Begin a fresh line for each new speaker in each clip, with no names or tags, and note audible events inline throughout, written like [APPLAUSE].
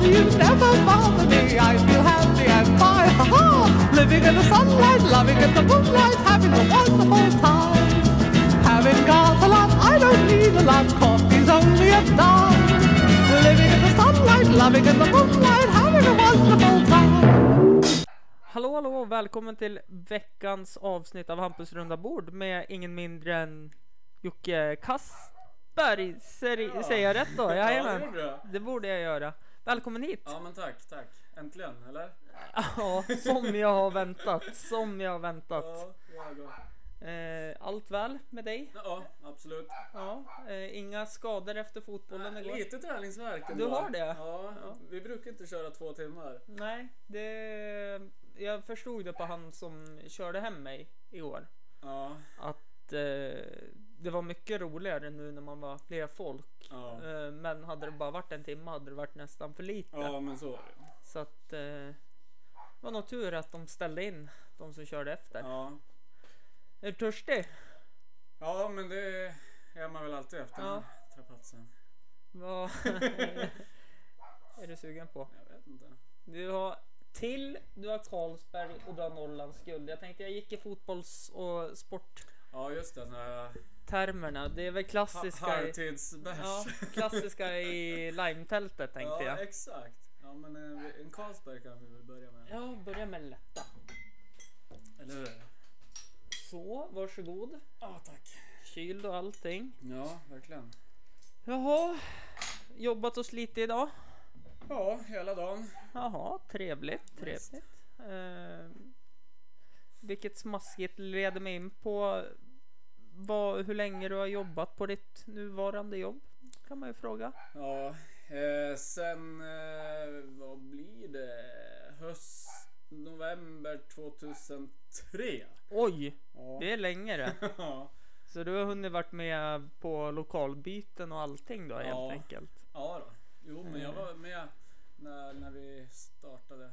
dreams never bother me. I feel happy and fine. Ha ha! Living in the sunlight, loving in the moonlight, having a wonderful time. Having got a lot, I don't need a lot. Coffee's only a dime. Living in the sunlight, loving in the moonlight, having a wonderful time.
Hallå hallå och välkommen till veckans avsnitt av Hampus runda bord med ingen mindre än Jocke Kasperg. eh, Ser, Säger jag rätt då?
Ja, det
Jajamän.
gjorde du.
Det borde jag göra. Välkommen hit!
Ja men tack, tack. Äntligen, eller?
[LAUGHS] Ja, som jag har väntat. Som jag har väntat.
Ja, jag går.
Eh, Allt väl med dig?
ja absolut.
Ja. eh, Inga skador efter fotbollen igår?
Lite träningsvärk
Du har det?
Ja,
Ja.
vi brukar inte köra två timmar.
Nej, det... Jag förstod det på han som körde hem mig igår.
Ja,
Att eh, det var mycket roligare nu när man var fler folk.
ja.
Eh, Men hade det bara varit en timme hade det varit nästan för lite.
ja men så är det.
Så att eh, det var nog tur att de ställde in de som körde efter.
Ja.
Är du törstig?
ja, men det är man väl alltid efter
Ja.
ja. trapatsen.
Vad [LAUGHS] är du sugen på?
Jag vet inte.
Du har till, du har Carlsberg och du har Norrlands guld. Jag tänkte jag gick i fotbolls och sporttermerna.
Ja, just det. Sån här
Det är väl klassiska, i,
halvtidsbärs.
ja, klassiska i limetältet tänkte
ja,
jag.
exakt. Ja, men eh, en Carlsberg kan vi väl börja med.
Ja, börja med lätta.
Eller hur?
Så, varsågod.
Ja, tack.
Kyld och allting.
Ja, verkligen.
Jaha, jobbat och slitit idag.
Ja, hela dagen.
Jaha, trevligt, trevligt. Eh, vilket smaskigt leder mig in på vad, hur länge du har jobbat på ditt nuvarande jobb? Kan man ju fråga.
Ja, eh, sen eh, vad blir det? Höst, november 2003.
Oj,
Ja.
det är längre.
[LAUGHS] ja,
Så du har hunnit varit med på lokalbyten och allting då helt
Ja.
enkelt.
då. Jo, men jag var med när, när vi startade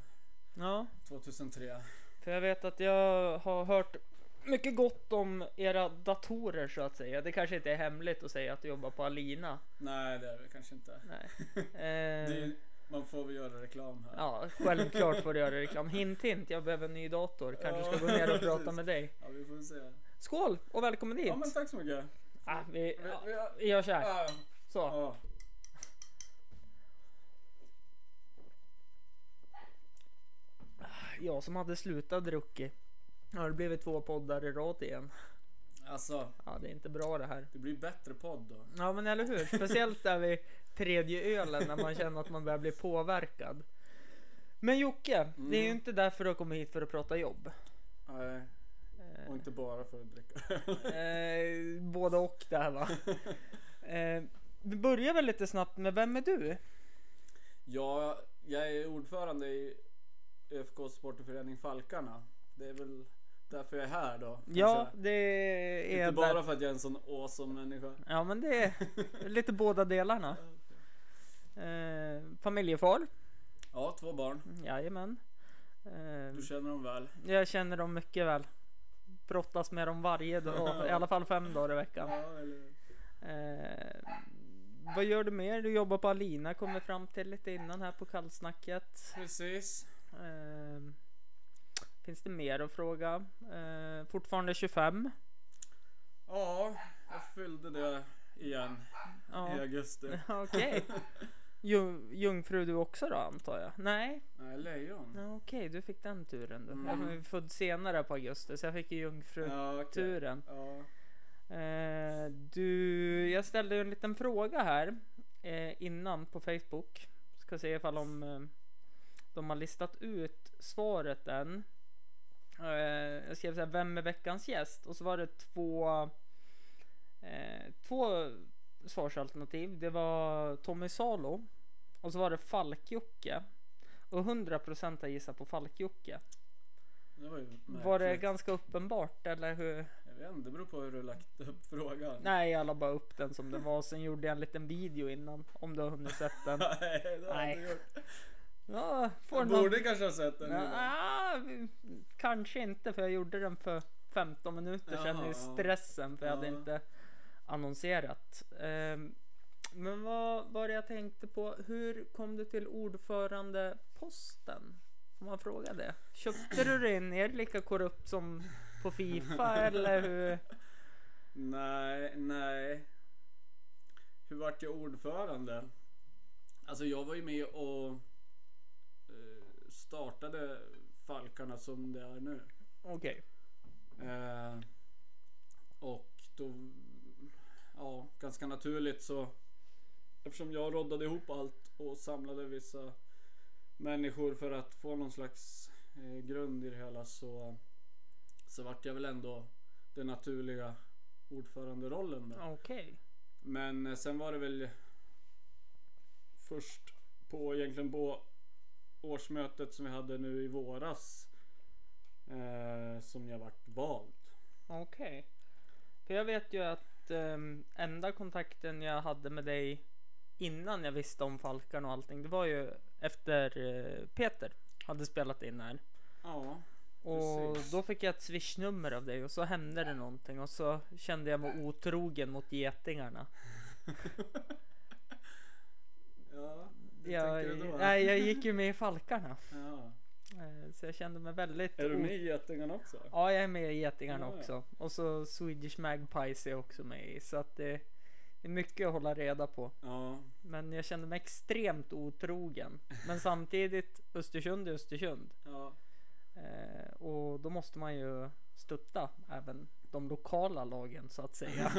Ja,
2003.
för jag vet att jag har hört mycket gott om era datorer så att säga. Det kanske inte är hemligt att säga att du jobbar på Alina.
Nej, det är det kanske inte.
Nej.
Det är,
Eh,
ju- man får väl göra reklam här.
Ja, självklart får du göra reklam. Hint hint, jag behöver en ny dator. Kanske ska
Ja,
gå ner och prata
precis.
med dig.
Ja, vi får väl se.
Skål och välkommen hit!
Ja, men tack så mycket.
ah, vi,
Vi,
ja, vi
vi,
gör så här.
ja,
Så.
ja.
Jag som hade slutat druckit. Nu har det blivit två poddar i rad igen.
Alltså,
Ja, det är inte bra det här.
det blir bättre podd då.
Ja, men eller hur? Speciellt där vid tredje ölen när man känner att man börjar bli påverkad. Men Jocke, det
Mm.
är ju inte därför du har kommit hit för att prata jobb.
Nej, och inte bara för att dricka
Eh, både och där
[LAUGHS]
va. Eh, vi börjar väl lite snabbt med vem är du?
Ja, jag är ordförande i ÖFKs sportförening Falkarna. Det är väl därför jag är här då. kanske.
Ja, det är
Inte Alltså, bara
där-
för att jag är en sån awesome människa.
Ja, men det är
[LAUGHS]
lite båda delarna. Eh, familjefar,
Ja, två barn.
jajamän. Eh,
Du känner dem väl.
jag känner dem mycket väl. Brottas med dem varje
[LAUGHS]
dag, i alla fall fem dagar i veckan.
Ja, eller...
Eh, vad gör du mer? Du jobbar på Alina, kom vi fram till lite innan här på kallsnacket.
Precis.
Ehm, finns det mer att fråga? Ehm, fortfarande 25.
Ja, jag fyllde det igen i
Ja.
augusti.
[LAUGHS] Okej. Ju- Jungfru du också då antar jag? Nej?
Nej, lejon.
Ja, Okej, du fick den turen du. Jag
Mm.
var ju född senare på augusti så jag fick ju
Ja, okej.
jungfruturen.
Ja.
Ehm, du, jag ställde ju en liten fråga här eh, innan på Facebook. Ska se ifall om eh, de har listat ut svaret än. Eh, jag skrev så här, vem är veckans gäst? Och så var det två, eh, två svarsalternativ. Det var Tommy Salo och så var det Falkjocke. Och 100% har gissat på Falkjocke.
Det var ju märkligt.
Var det ganska uppenbart eller hur?
Jag vet inte, det beror på hur du lagt upp frågan.
Nej, jag la bara upp den som den var. Sen gjorde jag en liten video innan om du har hunnit sett
[LAUGHS]
den.
[LAUGHS] Nej, det har jag
Nej.
inte gjort.
Ja, får
Du
någon-
borde kanske ha sett den. innan.
Ja, ah, kanske inte för jag gjorde den för 15 minuter sedan
Jaha,
i
ja.
stressen för jag hade
Ja.
inte annonserat. Ehm, Men vad var det jag tänkte på? Hur kom du till ordförandeposten? Får man fråga det? Köpte du dig in? Är det lika korrupt som på Fifa eller hur?
[LAUGHS] Nej, nej. Hur vart jag ordförande? Alltså jag var ju med och eh, startade Falkarna som det är nu.
Okej.
Eh, och då, ja, ganska naturligt så eftersom jag roddade ihop allt och samlade vissa människor för att få någon slags eh, grund i det hela så, så vart jag väl ändå den naturliga ordföranderollen. Då.
Okej.
Men eh, sen var det väl först på egentligen på årsmötet som vi hade nu i våras eh, som jag vart vald.
Okej. För jag vet ju att ehm, enda kontakten jag hade med dig innan jag visste om Falkarna och allting, det var ju efter eh, Peter hade spelat in här.
Ja,
Och
Precis.
då fick jag ett swishnummer av dig och så hände det någonting och så kände jag mig otrogen mot getingarna.
ja hur
Jag,
tänker du då?
nej, jag gick ju med i Falkarna.
Ja.
Eh, Så jag kände mig väldigt...
Är du
o-
med i Getingarna också?
Ja, jag är med i Getingarna
Ja, ja.
också. Och så Swedish Magpies är jag också med i. Så att det det är mycket att hålla reda på.
Ja,
Men jag kände mig extremt otrogen. Men samtidigt, Östersund är Östersund.
ja,
Eh, och då måste man ju stötta även de lokala lagen så att
[LAUGHS]
säga.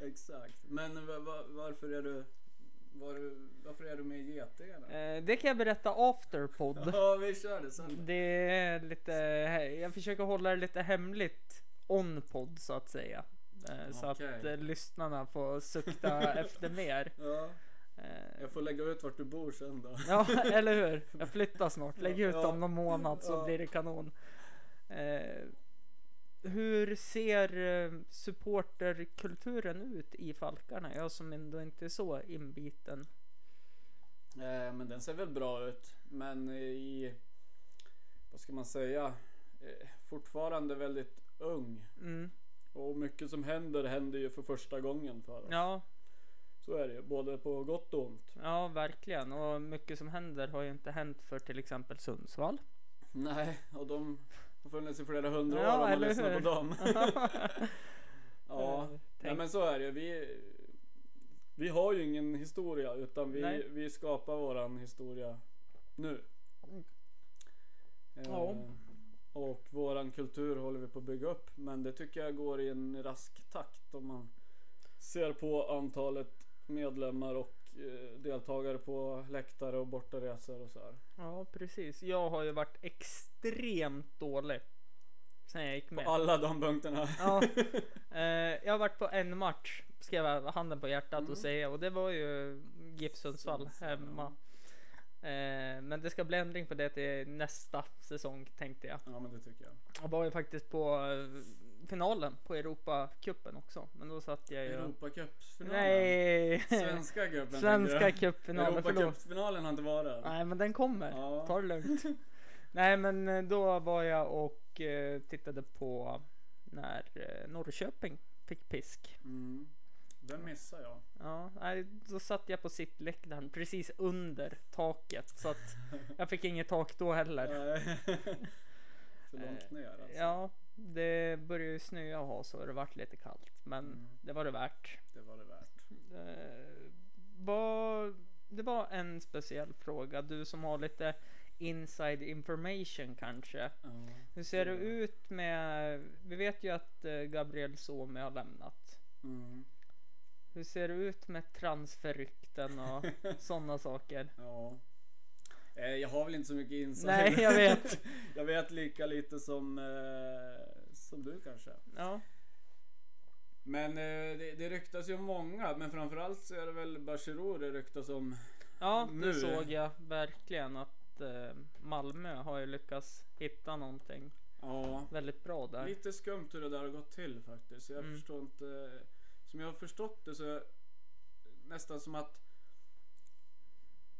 exakt. Men va- va- varför är du var du, varför är du med i Getingarna?
Eh, det kan jag berätta afterpod.
Ja, vi kör det sen.
Det är lite, jag försöker hålla det lite hemligt on podd så att säga. Eh, Så att
Okej.
eh, lyssnarna får sukta efter mer.
Ja,
Eh,
jag får lägga ut vart du bor sen då.
Ja, [LAUGHS] eller hur? Jag flyttar snart. Lägg ut
Ja.
om någon månad så
Ja.
blir det kanon. Eh, hur ser eh, supporterkulturen ut i Falkarna? Jag som ändå inte är så inbiten.
Eh, men den ser väl bra ut. Men i, vad ska man säga, eh, fortfarande väldigt ung.
Mm.
Och mycket som händer händer ju för första gången för oss.
Ja,
Så är det ju, både på gott och ont.
ja, verkligen. Och mycket som händer har ju inte hänt för till exempel
[LAUGHS]
Sundsvall.
Nej, och de har funnits i flera hundra
Ja,
år om man
eller
lyssnar
hur?
på dem. [LAUGHS] ja, Nej,
Tänk-
men så är det ju. Vi, vi har ju ingen historia utan vi,
Nej.
vi skapar våran historia nu. Eh,
Ja.
Och våran kultur håller vi på att bygga upp men det tycker jag går i en rask takt om man ser på antalet medlemmar och eh, deltagare på läktare och bortaresor och så här.
Ja, precis. Jag har ju varit extremt dålig sen jag gick med.
På alla de punkterna.
Ja, eh, jag har varit på en match, ska jag vara handen på hjärtat och säga, och det var ju GIF Sundsvall
Mm. Sundsvall,
hemma. Eh, men det ska bli ändring på det till nästa säsong tänkte jag.
[LAUGHS] ja men det tycker jag.
Jag var ju faktiskt på eh, finalen på Europacupen också, men då satt jag ju...
Europacupsfinalen?
Nej!
Svenska
[LAUGHS]
cupen?
Svenska
tänkte jag.
cupfinalen, förlåt.
Europacupsfinalen har inte varit.
Nej men den kommer,
Ja.
ta det
[LAUGHS]
lugnt. Nej men eh, då var jag och eh, tittade på när eh, Norrköping fick pisk.
Mm. Den missar jag.
Ja, nej, då satt jag på sittläktaren precis under taket så att jag fick inget tak då heller.
Nej. [LAUGHS] För långt ner alltså.
Eh, Ja, det började ju snöa och ha så det vart lite kallt, men
Mm.
det var det värt.
Det var det värt.
Eh, vad, det var en speciell fråga, du som har lite inside information kanske.
Ja.
Hur ser det ut med, vi vet ju att eh, Gabriel Suomi har lämnat.
Mm.
Hur ser det ut med transferrykten och sådana saker?
ja. Eh, Jag har väl inte så mycket insider.
Nej, jag vet.
[LAUGHS] jag vet lika lite som, eh, som du kanske.
Ja.
Men eh, det, det ryktas ju om många. Men framförallt så är det väl Bachirou det ryktas om.
Ja, det
Nu-
såg jag verkligen att eh, Malmö har ju lyckats hitta någonting
Ja.
väldigt bra där.
Lite skumt hur det där har gått till faktiskt. Jag
Mm.
förstår inte. Som jag har förstått det så är det nästan som att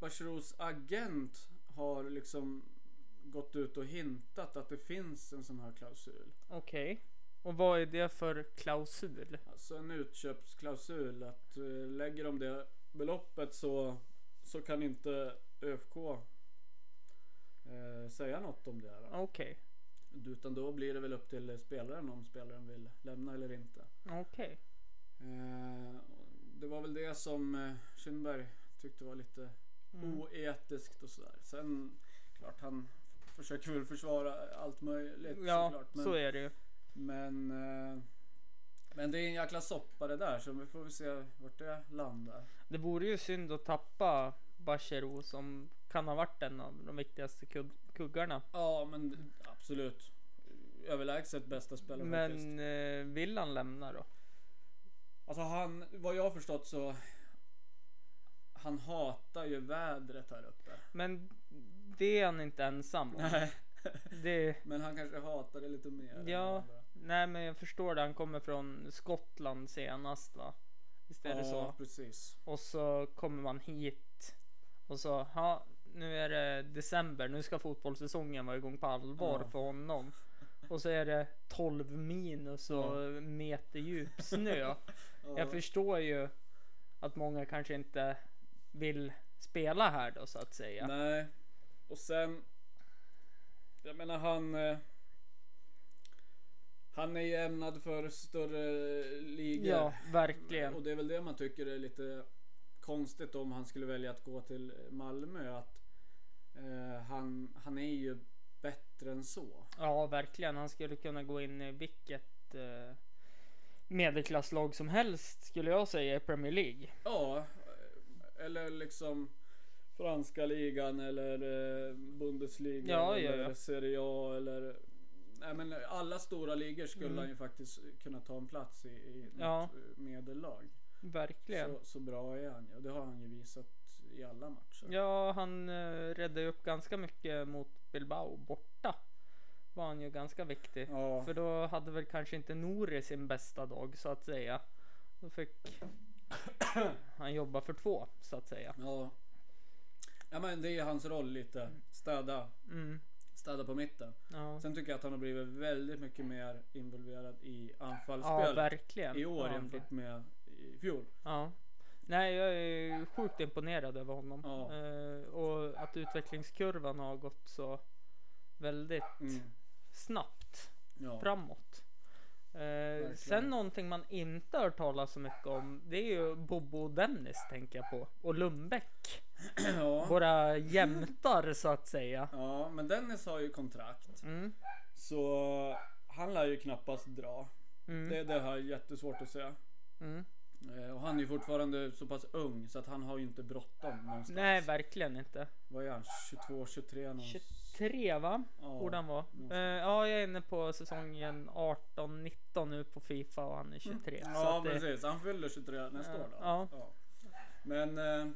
Bachirous agent har liksom gått ut och hintat att det finns en sån här klausul.
Okej, Och vad är det för klausul?
Alltså en utköpsklausul att eh, lägger de det beloppet så, så kan inte ÖFK eh, säga något om det. Här.
Okej,
Utan då blir det väl upp till spelaren om spelaren vill lämna eller inte.
okej.
Eh, det var väl det som eh, Kindberg tyckte var lite
Mm.
oetiskt och sådär. Sen klart han f- försöker väl försvara allt möjligt
Ja,
såklart. Men,
så är det ju.
men, eh, men det är en jäkla soppa det där så vi får väl se vart det landar.
Det vore ju synd att tappa Bachero som kan ha varit en av de viktigaste kug- kuggarna.
Ja men d- absolut. Överlägset bästa spelaren faktiskt.
Men eh, vill han lämna då?
Alltså han, vad jag har förstått så han hatar ju vädret här uppe.
Men det är han inte ensam om.
Nej.
Det,
Men han kanske hatar det lite mer. än
Ja.
andra.
nej men jag förstår det. Han kommer från Skottland senast va? Visst är det så?
Ja, precis.
Och så kommer man hit och så, ja, nu är det december, nu ska fotbollssäsongen vara igång på allvar
Ja.
för honom. Och så är det 12 minus och meter djup
[LAUGHS]
snö.
Ja.
Jag förstår ju att många kanske inte vill spela här då så att säga.
Nej. Och sen. Jag menar han. Eh, han är ju ämnad för större ligor.
Ja, verkligen.
Och det är väl det man tycker är lite konstigt om han skulle välja att gå till Malmö. Att eh, han, han är ju bättre än så.
Ja, verkligen. Han skulle kunna gå in i vilket eh, medelklasslag som helst skulle jag säga i Premier League.
Ja, eller liksom franska ligan eller eh, Bundesliga
Ja, ja,
eller
ja.
Serie A eller Nej, men alla stora ligor skulle han ju faktiskt kunna ta en plats i, i
Mm. Ja.
något eh, medellag.
Verkligen.
Så, så bra är han ju. Det har han ju visat i alla matcher.
Ja, han eh, räddade ju upp ganska mycket mot Bilbao borta. Var han ju ganska viktig.
Ja.
För då hade väl kanske inte Nouri sin bästa dag så att säga. Då
[COUGHS]
fick han jobba för två så att säga.
ja. Ja men det är hans roll lite. Städa.
Mm,
Städa på mitten.
ja.
Sen tycker jag att han har blivit väldigt mycket mer involverad i
ja,
anfallsspelet.
verkligen.
I år
Ja,
jämfört med i fjol.
Ja. Nej, jag är sjukt imponerad över honom.
Ja.
Eh, och att utvecklingskurvan har gått så väldigt
Mm.
snabbt
Ja.
framåt. Eh, sen någonting man inte hört talas så mycket om det är ju Bobo och Dennis tänker jag på. Och Lundbäck.
[CLEARS THROAT] Ja.
Våra jämtar så att säga.
ja, men Dennis har ju kontrakt.
Mm.
Så han lär ju knappast dra.
Mm.
Det, det har jag jättesvårt att säga.
Mm.
Eh, Och han är ju fortfarande så pass ung så att han har ju inte bråttom någonstans.
Nej, verkligen inte.
Vad är han? 22, 23 någonstans?
23 va?
Ja.
Borde han vara.
någonstans.
Eh, ja, jag är inne på säsongen 18-19 nu på Fifa och han är 23. så
Mm. Ja
att det,
precis, han fyller 23 nästa
Ja,
år då.
ja.
Men eh,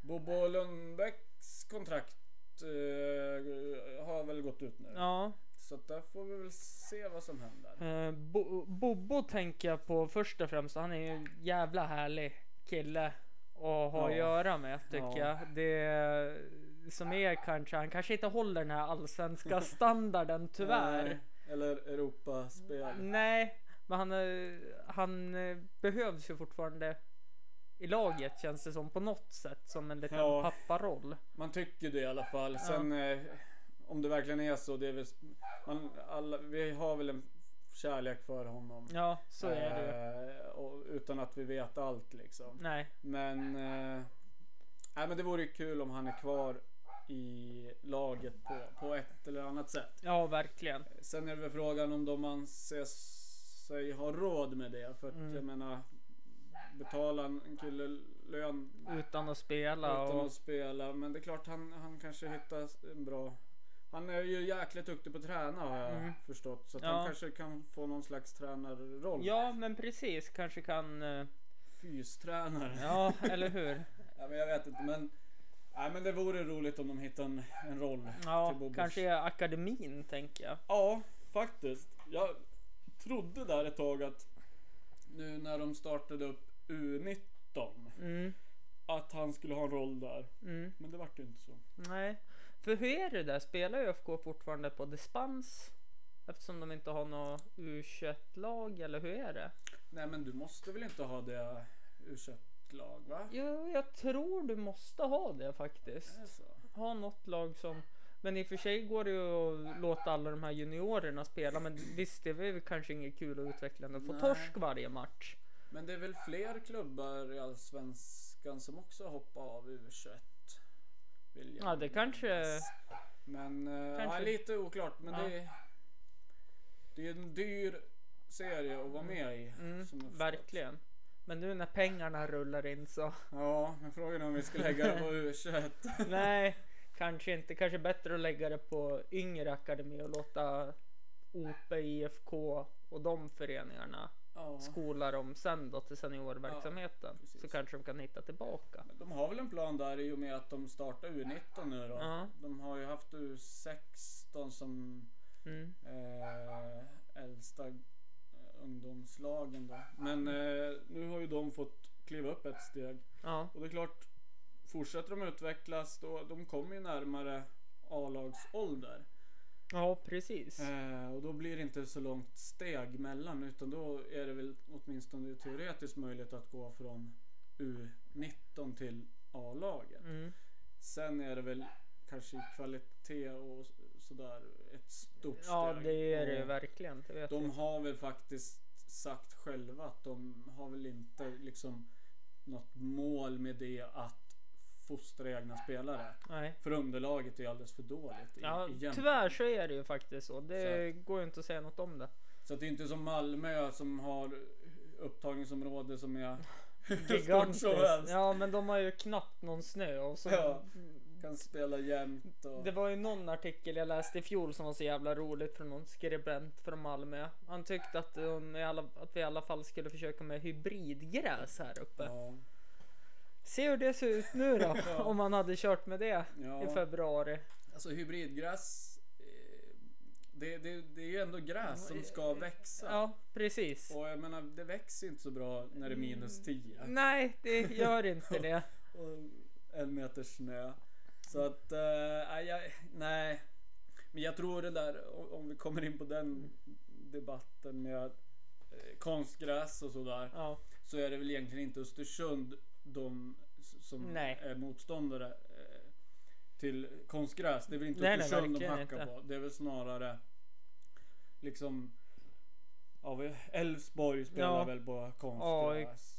Bobo Lundbäcks kontrakt eh, har väl gått ut nu.
ja.
Så att där får vi väl se vad som händer.
Eh, Bo- Bobo tänker jag på först och främst. Han är ju en jävla härlig kille att ha att
Ja.
göra med tycker
Ja.
jag. Det som är kanske, han kanske inte håller den här allsvenska
[LAUGHS]
standarden tyvärr. Mm. Nej,
Eh, Eller Europaspel.
men han, eh, han eh, behövs ju fortfarande i laget känns det som på något sätt som en liten
Ja.
papparoll.
Man tycker det i alla fall. Sen eh, om det verkligen är så. Det är väl, man, alla, vi har väl en kärlek för honom.
Ja, så är det ju.
Eh, och, utan att vi vet allt liksom.
Nej,
Men, eh, nej, men det vore ju kul om han är kvar i laget på, på ett eller annat sätt.
ja verkligen.
Sen är det väl frågan om de anser sig ha råd med det. För att
Mm.
jag menar, betala en en kille lön
Utan att spela
utan
och
att spela. Men det är klart han, han kanske hittar en bra... Han är ju jäkligt duktig på att träna har jag förstått. Så att
Mm. Ja.
han kanske kan få någon slags tränarroll.
Ja, men precis kanske kan. eh,
Fystränare.
Ja, eller hur?
Ja, men jag vet inte men Nej men det vore roligt om de hittar en, en roll
Ja,
till Bobos.
kanske akademin tänker jag.
Ja, faktiskt. Jag trodde där ett tag att nu när de startade upp U19
Mm,
att han skulle ha en roll där.
mm,
Men det vart ju inte så.
nej. För hur är det där? Spelar ÖFK fortfarande på dispens? Eftersom de inte har något U21-lag eller hur är det?
Nej men du måste väl inte ha det eh, u lag va?
Jo, jag tror du måste ha det faktiskt.
Är det så?
Ha något lag som... Men i och för sig går det ju att låta alla de här juniorerna spela men visst det är väl kanske inget kul och utvecklande att få
Nej.
torsk varje match.
Men det är väl fler klubbar i Allsvenskan som också hoppar av U21? Vill jag
Ja det kanske...
minnas. Men eh,
Kanske.
Ja, lite oklart. Men
Ja.
det, är, det är en dyr serie att vara med i.
Mm,
som jag förstått.
verkligen. Men nu när pengarna rullar in så...
Ja, men frågan är om vi ska lägga det
[LAUGHS]
på U21.
Nej, kanske inte. Kanske bättre att lägga det på yngre akademi och låta OP, IFK och de föreningarna
ja.
skola dem sen då till seniorverksamheten.
Ja, precis.
så kanske de kan hitta tillbaka.
Men De har väl en plan där i och med att de startar U19 nu då.
Ja.
De har ju haft U16 som
Mm.
eh, äldsta eh, ungdomslagen då.
Mm.
Men eh, nu har ju de fått kliva upp ett steg.
Ja,
Och det är klart, fortsätter de utvecklas då, de kommer ju närmare A-lagsålder.
ja precis.
Eh, och då blir det inte så långt steg mellan utan då är det väl åtminstone teoretiskt möjligt att gå från U19 till A-laget.
Mm.
Sen är det väl kanske i kvalitet och sådär ett stort
Ja,
steg.
det är det ju
Och
verkligen. Det vet
De
jag.
har väl faktiskt sagt själva att de har väl inte liksom något mål med det att fostra egna spelare.
Nej.
För underlaget är alldeles för dåligt. i-
Ja,
egentligen.
tyvärr så är det ju faktiskt så. Det går ju inte att säga något om det.
Så att det är inte som Malmö som har upptagningsområde som är [LAUGHS] hur stort
Gigantiskt.
som helst.
Ja, men de har ju knappt någon snö och så
Ja. Kan spela jämt och...
Det var ju någon artikel jag läste i fjol som var så jävla roligt från någon skribent från Malmö. Han tyckte att, de i alla, att vi i alla fall skulle försöka med hybridgräs här uppe.
Ja.
Se hur det ser ut nu då
[LAUGHS] Ja.
om man hade kört med det
Ja.
i februari.
Alltså hybridgräs, eh, det, det, det är ju ändå gräs som ska växa.
eh, Ja precis.
Och jag menar, det växer inte så bra när det är minus 10.
Mm. Nej det gör
[LAUGHS]
inte det.
Och en meter snö. Så att, eh, nej, jag, nej. Men jag tror det där, o- om vi kommer in på den
Mm.
debatten med eh, konstgräs och sådär.
Ja.
Så är det väl egentligen inte Östersund de s- som
Nej.
är motståndare eh, till konstgräs. Det är väl inte
Nej, nej,
Östersund de
verkligen
hackar
inte.
på. Det är väl snarare liksom ja, väl, Elfsborg spelar
Ja.
väl på konstgräs.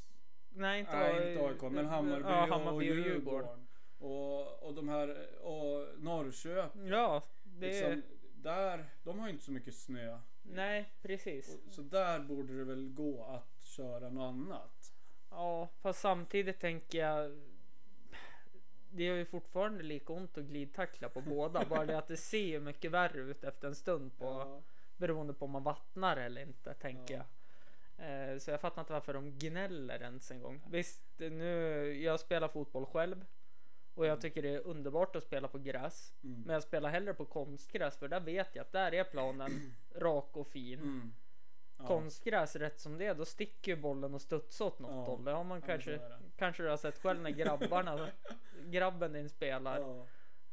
Nej inte,
Nej, inte AIK, men Hammarby,
ja,
och,
Hammarby och
Djurgården.
Djurgården.
Och, och de här och Norrköping.
Ja det
Liksom, där, de har ju inte så mycket snö.
Nej precis.
Så där borde det väl gå att köra något annat.
Ja, fast samtidigt tänker jag. Det är ju fortfarande lika ont att glidtackla på båda. bara det att det ser ju mycket värre ut efter en stund. På,
Ja.
Beroende på om man vattnar eller inte tänker
Ja.
jag. Eh, Så jag fattar inte varför de gnäller ens en gång. Visst, nu, jag spelar fotboll själv. Och jag tycker det är underbart att spela på gräs.
Mm.
Men jag spelar hellre på konstgräs. För där vet jag att där är planen rak och fin
Mm. Ja.
konstgräs rätt som det är, då sticker ju bollen och studsar åt något
Ja.
håll. Det har man
men
kanske,
så är det.
kanske du har sett själv när
[LAUGHS]
grabbarna, grabben din spelar.
Ja.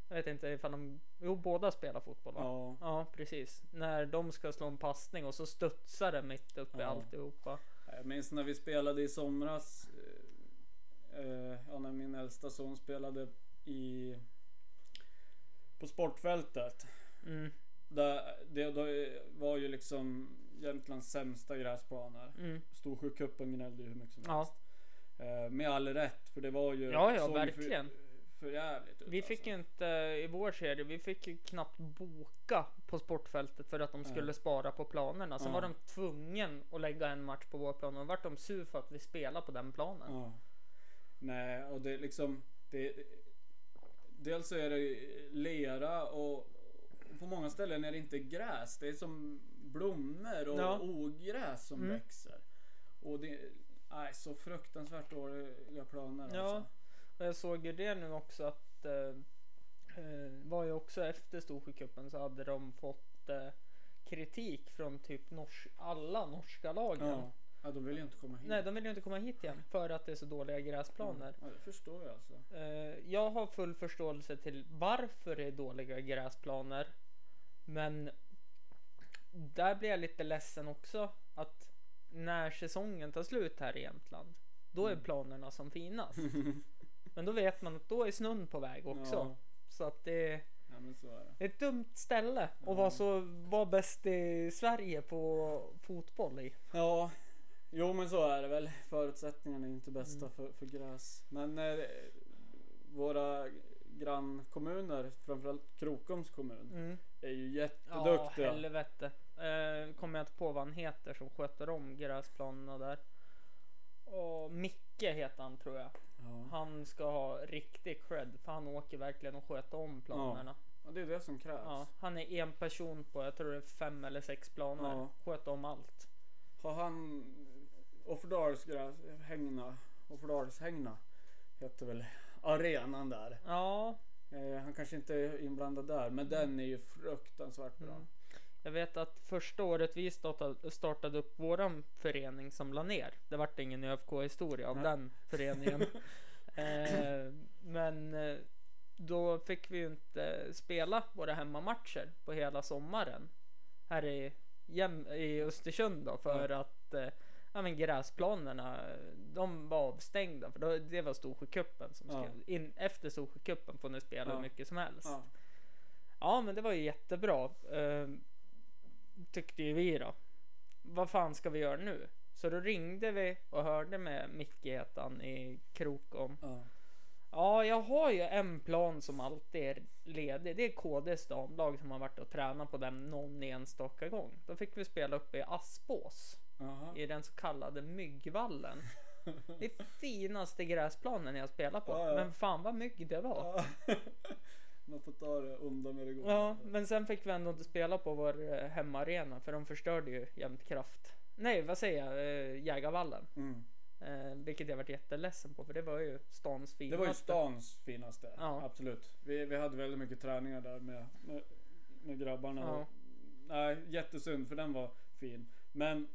Jag vet inte ifall de, jo båda spelar fotboll va?
Ja.
Ja, precis. När de ska slå en passning och så studsar det mitt uppe i
Ja.
alltihopa.
Jag minns när vi spelade i somras. eh, eh, Ja, när min äldsta son spelade i på sportfältet.
Mm,
Där, det då var ju liksom Jämtlands sämsta gräsplaner.
mm.
Storsjöcupen gnällde ju hur mycket som
Ja.
helst. Eh, Med all rätt för det var ju...
Ja, ja,
såg ju
verkligen.
För, för jävligt ut,
Vi fick ju
alltså.
inte i vår serie, vi fick ju knappt boka på sportfältet för att de skulle spara på planerna. Sen
Ja.
var de tvungen att lägga en match på vår plan och vart de sur för att vi spelar på den planen.
Ja. Nej och det är liksom. Det, dels så är det lera och på många ställen är det inte gräs. Det är som blommor och
Ja.
ogräs som
Mm.
växer. Och det nej, så fruktansvärt dåliga planer
Ja,
alltså.
och jag såg ju det nu också att eh, eh, var ju också efter Storsjöcupen så hade de fått eh, kritik från typ nors alla norska lagen.
Ja. ja, de vill ju inte komma hit.
Nej, de vill ju inte komma hit igen för att det är så dåliga gräsplaner.
Ja, det förstår jag alltså.
Eh, jag har full förståelse till varför det är dåliga gräsplaner, men där blir jag lite ledsen också att när säsongen tar slut här i Jämtland, då är planerna som finast. Men då vet man att då är snön på väg också.
Ja.
Så att det
Ja men så är det.
det är ett dumt ställe att vara så var bäst i Sverige på fotboll i.
Ja. Jo men så är det väl. Förutsättningarna är inte bästa
Mm.
för, för gräs. Men eh, våra grannkommuner, framförallt Krokoms kommun,
Mm.
är ju
Ja,
jätteduktiga.
helvete. Eh, kommer jag inte på vad han heter som sköter om gräsplanerna där. Och Micke heter han tror jag.
Ja.
Han ska ha riktig cred för han åker verkligen och sköter om planerna.
ja, det är det som krävs.
Ja, han är en person på, jag tror det är fem eller sex planer.
Ja.
Sköter om allt.
Har han Offerdalshängna, Offerdalshängna heter väl arenan där.
Ja,
Eh, han kanske inte är inblandad där men den är ju fruktansvärt bra.
Mm. jag vet att första året vi startade, startade upp våran förening som la ner. Det vart ingen ÖFK-historia av
Nej.
den
[LAUGHS]
föreningen. eh, men eh, då fick vi ju inte spela våra hemmamatcher på hela sommaren. Här i, Jäm- i Östersund då för att eh, Ja, men gräsplanerna de var avstängda för då, det var Storsjökuppen som
Ja.
skrev in, efter Storsjökuppen får ni spela
Ja.
hur mycket som helst.
Ja.
Ja men det var ju jättebra. Eh, tyckte ju vi då. Vad fan ska vi göra nu? Så då ringde vi och hörde med Micke hette han i Krokom.
Ja.
Ja jag har ju en plan som alltid är ledig. Det är KDs damlag som har varit och tränat på den någon enstaka gång. Då fick vi spela uppe i Aspås.
Jaha.
I den så kallade Myggvallen. Det är finaste gräsplanen jag spelar på.
Ja, ja.
Men fan vad mygg det var.
Ja. [LAUGHS] Man får ta det onda med det goda.
Ja, men sen fick vi ändå inte spela på vår eh, hemmaarena för de förstörde ju jämt kraft. Nej, vad säger jag? Eh, Jägarvallen.
Mm.
Eh, vilket jag varit jätteledsen på för det var ju stans
Det
finaste.
var ju stans finaste.
Ja.
Absolut. Vi, vi hade väldigt mycket träningar där med, med, med grabbarna.
Ja.
Och, nej, jättesynd för den var fin. Men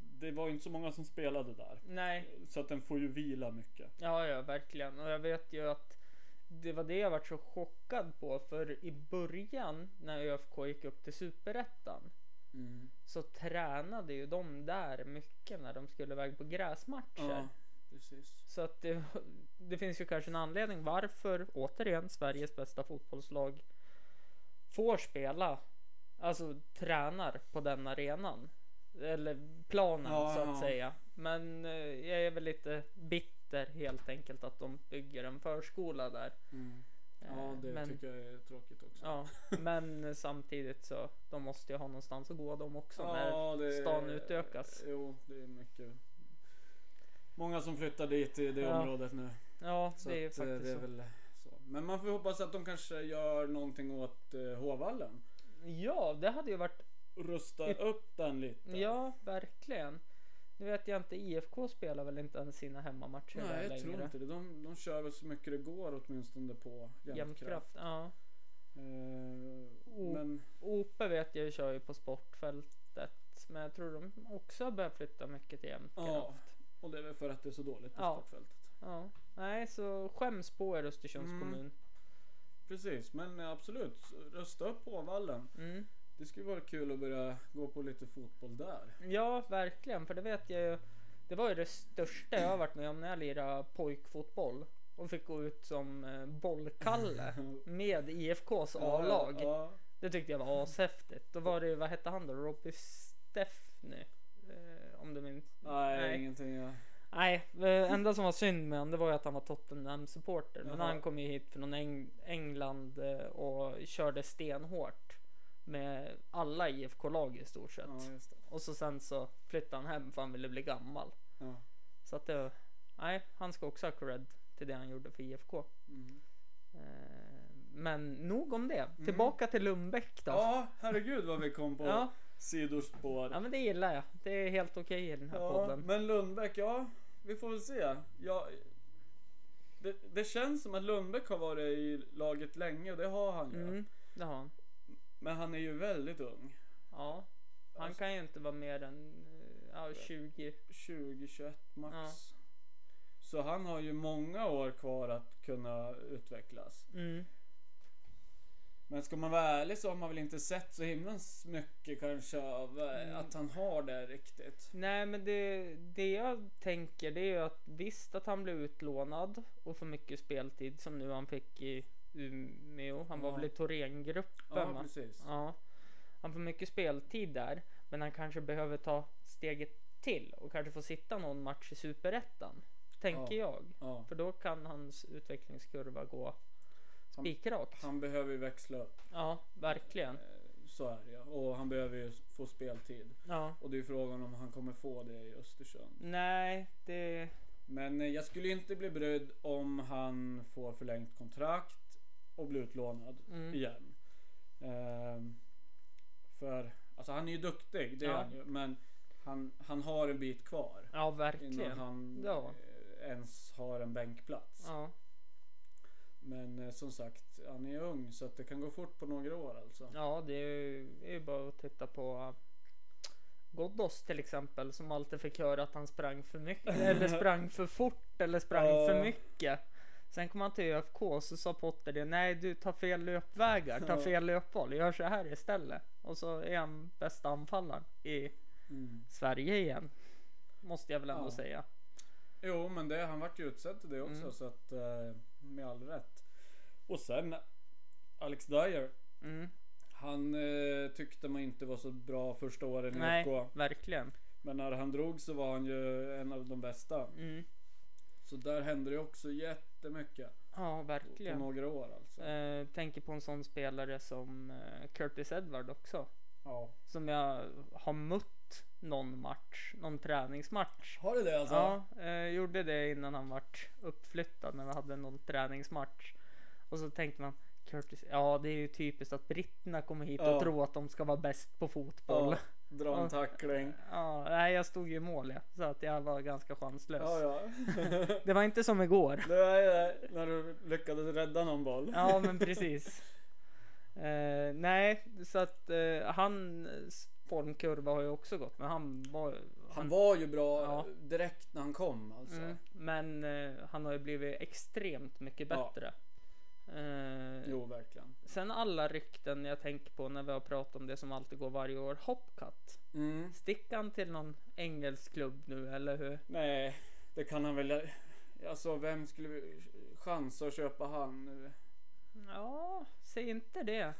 det var ju inte så många som spelade där.
Nej,
Så att den får ju vila mycket.
ja, ja, verkligen. Och jag vet ju att det var det jag varit så chockad på för i början när ÖFK gick upp till superettan
Mm.
så tränade ju de där mycket när de skulle iväg på gräsmatcher.
Ja, precis.
Så att det, det finns ju kanske en anledning varför återigen Sveriges bästa fotbollslag får spela, alltså tränar på den arenan. Eller planen
Ja,
så
ja.
att säga. Men eh, jag är väl lite bitter helt enkelt att de bygger en förskola där.
Mm. Ja,
Eh,
det
men,
tycker jag är tråkigt också.
Ja, men samtidigt så de måste ju ha någonstans att gå de också när stan utökas.
Jo, det är mycket. Många som flyttar dit i det
Ja.
området nu.
Ja,
Så
det är ju
att, eh,
faktiskt
det är
så.
väl så. Men man får ju hoppas att de kanske gör någonting åt eh, Håvallen.
Ja, det hade ju varit
Rusta
Yt-
upp den lite.
Ja, verkligen. Nu vet jag inte, IFK spelar väl inte ens sina hemmamatcher där
Nej, jag
längre?
tror inte det. De, de kör väl så mycket det går åtminstone på jämtkraft.
Jämtkraft, ja.
Eh,
Oh.
Men
Ope vet jag ju kör ju på sportfältet, men jag tror de också har börjat flytta mycket till Jämtkraft.
ja,
Ja.
och det är väl för att det är så dåligt på
Ja.
sportfältet.
Nej, så skäms på er Östersunds
Mm.
kommun.
Precis, men eh, absolut. Rösta upp Håvallen.
Mm.
Det skulle vara kul att börja gå på lite fotboll där.
Ja, verkligen, för det vet jag ju. Det var ju det största jag har varit med om när jag lirade pojkfotboll och fick gå ut som eh, bollkalle med IFKs A-lag.
Mm. Ja,
Det tyckte jag
Mm.
var ashäftigt. Då var det ju, vad hette han då? Robbie Steffny? Eh, om du minns?
Nej,
Nej.
ingenting. Ja.
Nej, eh, enda som var synd med honom det var ju att han var Tottenham supporter. Men
Jaha.
han kom ju hit från Eng- England eh, och körde stenhårt. Med alla IFK-lag i stort sett.
ja, just det.
Och så sen så flyttade han hem för han ville bli gammal.
Ja.
Så att det, nej, han ska också ha cred till det han gjorde för IFK.
Mm.
Eh, men nog om det. Tillbaka till Lundbäck då.
ja, herregud vad vi kom på
Ja.
sidospår.
Ja men det gillar jag. Det är helt okej i den här
Ja,
podden.
men Lundbäck, ja. Vi får väl se. Ja, det, det känns som att Lundbäck har varit i laget länge och det har han ju.
Mm, det har han.
Men han är ju väldigt ung.
Ja. Han
Alltså-
kan ju inte vara mer än eh, ja, 20.
20-21 max. Så han har ju många år kvar att kunna utvecklas.
Mm.
Men ska man vara ärlig så har man väl inte sett så himla mycket kanske av eh,
Mm.
att han har det riktigt.
Nej men det, det jag tänker det är ju att visst att han blev utlånad och får mycket speltid som nu han fick i Umeå. Han var
Ja.
väl i Thorengruppen
Ja,
va?
precis.
Ja. Han får mycket speltid där men han kanske behöver ta steget till och kanske få sitta någon match i Superettan. Tänker jag.
Ja.
För då kan hans utvecklingskurva gå
Han-
spikrakt.
Han behöver ju växla upp.
Ja, verkligen.
eh, Så är det ja. Och han behöver ju få speltid.
Ja.
Och det är frågan om han kommer få det i Östersund.
Nej, det...
Men eh, jag skulle inte bli brydd om han får förlängt kontrakt och blir utlånad
Mm.
igen. Ehm, för alltså han är ju duktig, det
Ja.
är han ju. Men han, han har en bit kvar.
Ja,
Innan
verkligen.
han
Ja.
eh, ens har en bänkplats.
Ja.
Men eh, som sagt, han är ung så att det kan gå fort på några år alltså.
Ja, det är ju, är ju bara att titta på Ghoddos till exempel som alltid fick höra att han sprang för [LAUGHS] mycket eller sprang för fort eller sprang
Ja.
för mycket. Sen kom han till ÖFK och så sa Potter det. Nej, du tar fel löpvägar, tar
Ja.
fel löpboll, gör så här istället. Och så är han bästa anfallaren i
Mm.
Sverige igen. Måste jag väl ändå
Ja.
säga.
Jo, men det, han vart ju utsedd till det också
Mm.
så att eh, med all rätt. Och sen Alex Dyer.
Mm,
Han eh, tyckte man inte var så bra första åren i
nej,
FK.
verkligen.
Men när han drog så var han ju en av de bästa.
Mm,
Så där hände det också jättemycket.
ja,
På
verkligen.
några år alltså.
Eh, tänker på en sån spelare som eh, Curtis Edward också.
Ja.
som jag har mött någon match, någon träningsmatch.
Har du det alltså?
Ja, eh, gjorde det innan han vart uppflyttad när vi hade någon träningsmatch. Och så tänkte man Curtis, ja det är ju typiskt att britterna kommer hit
Ja.
och tror att de ska vara bäst på fotboll.
Ja, Dra en
Ja.
tackling.
[LAUGHS] Ja. nej jag stod ju i mål ja, så att jag var ganska chanslös.
Ja, ja.
[LAUGHS] Det var inte som igår.
Nej, nej, när du lyckades rädda någon boll.
Ja men precis. Eh, nej, så att eh, hans formkurva har ju också gått men han var
Han var ju bra
Ja.
direkt när han kom alltså.
Mm, men eh, han har ju blivit extremt mycket
Ja.
bättre. Eh,
Jo, verkligen.
sen alla rykten jag tänker på när vi har pratat om det som alltid går varje år. Hopcut.
Mm.
Sticker han till någon engelsk klubb nu eller hur?
Nej, det kan han väl. Alltså, vem skulle vi- chansa att köpa han nu?
Ja, säg inte det.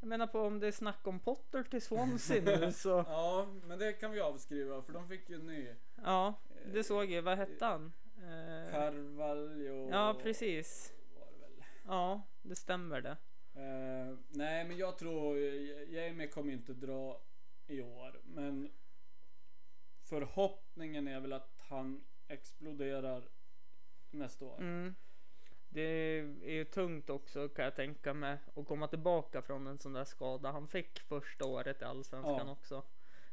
Jag menar på om det är snack om Potter till Swansea nu så.
Ja, men det kan vi avskriva för de fick ju en ny.
Ja,
Eh,
det såg jag. Vad hette han? Eh,
Carvalho.
ja, precis.
Var det väl.
Ja, det stämmer det.
Eh, nej, men jag tror Jamie kommer inte dra i år, men förhoppningen är väl att han exploderar nästa år.
Mm. Det är ju tungt också kan jag tänka mig att komma tillbaka från en sån där skada han fick första året i Allsvenskan
Ja.
också.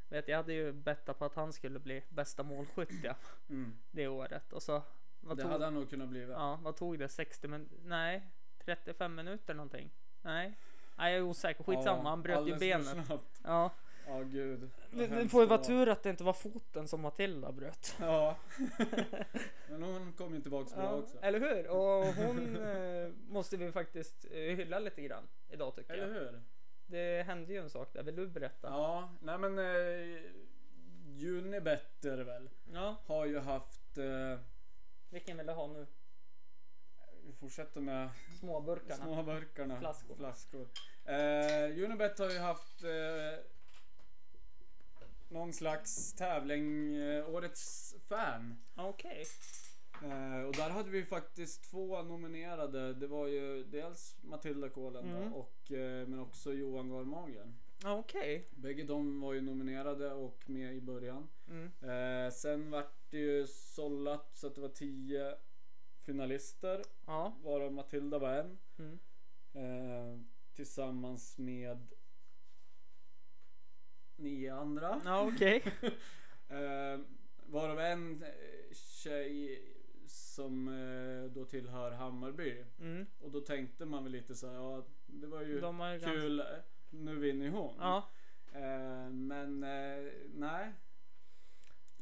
Vet, jag hade ju bettat på att han skulle bli bästa målskytt ja, [SNIFFS]
Mm.
det året och så vad
Det
tog,
hade han nog kunnat bli.
ja, vad tog det 60 minuter? Nej, 35 minuter någonting. Nej, nej jag är osäker. Skitsamma, han bröt ju
alldeles för
benet.
snabbt.
Ja,
Ja, gud. vad
det, det
hemskt
får ju
det
vara
var.
tur att det inte var foten som Matilda bröt. [LAUGHS]
Ja. Men hon kom ju tillbaks bra
Ja,
också.
eller hur?
[LAUGHS]
Och hon eh, måste vi faktiskt eh, hylla lite grann idag tycker
Eller
jag.
hur?
Det hände ju en sak där, vill du berätta?
Ja, nej men eh, Unibet är det väl.
Ja,
Har ju haft, eh,
vilken vill du ha nu?
vi fortsätter med
Småburkarna?
små burkarna.
Flaskor.
Eh, Unibet har ju haft eh, någon slags tävling, eh, Årets fan.
Okej.
Eh, och där hade vi faktiskt två nominerade. Det var ju dels Matilda Kålen då,
Mm.
och, eh, men också Johan Garmagen.
Okej.
Bägge de var ju nominerade och med i början.
Mm.
Eh, sen vart det ju sållat så att det var 10 finalister
Ja.
varav Matilda var en.
Mm.
Eh, tillsammans med nio andra.
Ja, okej.
[LAUGHS] Eh, varav en eh, tjej som eh, då tillhör Hammarby.
Mm.
Och då tänkte man väl lite så här, ja det var ju
De har ju ganska-
kul, eh, nu vinner ju hon.
Ja.
Eh, men eh, nej.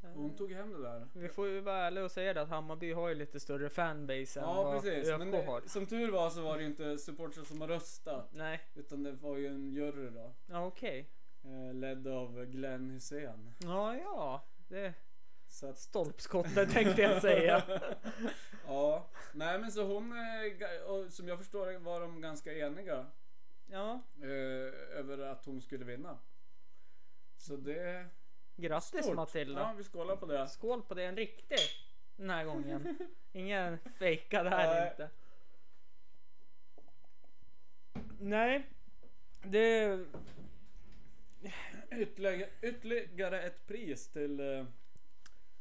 Och hon tog hem det där.
Vi får ju vara ärliga och säga det att Hammarby har ju lite större fanbase än
Ja
vad
precis.
ÖFK
Men det,
har.
som tur var så var det ju inte supportrar som har röstat.
Nej,
Utan det var ju en jury då.
ja okej.
Eh, ledd av Glenn Hussein.
Ja, ja. Det...
Så att,
Stolpskottet tänkte jag säga.
[LAUGHS]
[LAUGHS]
ja. Nej men så hon, eh, ga- och som jag förstår det var de ganska eniga.
Ja,
Eh, över att hon skulle vinna. Så det...
grattis
stort. Ja,
Matilda.
vi skålar på det.
Skål på dig, en riktig den här
[LAUGHS]
gången. Ingen fejkad här
Nej.
inte. Nej, det...
Ytterligare, ytterligare ett pris till eh,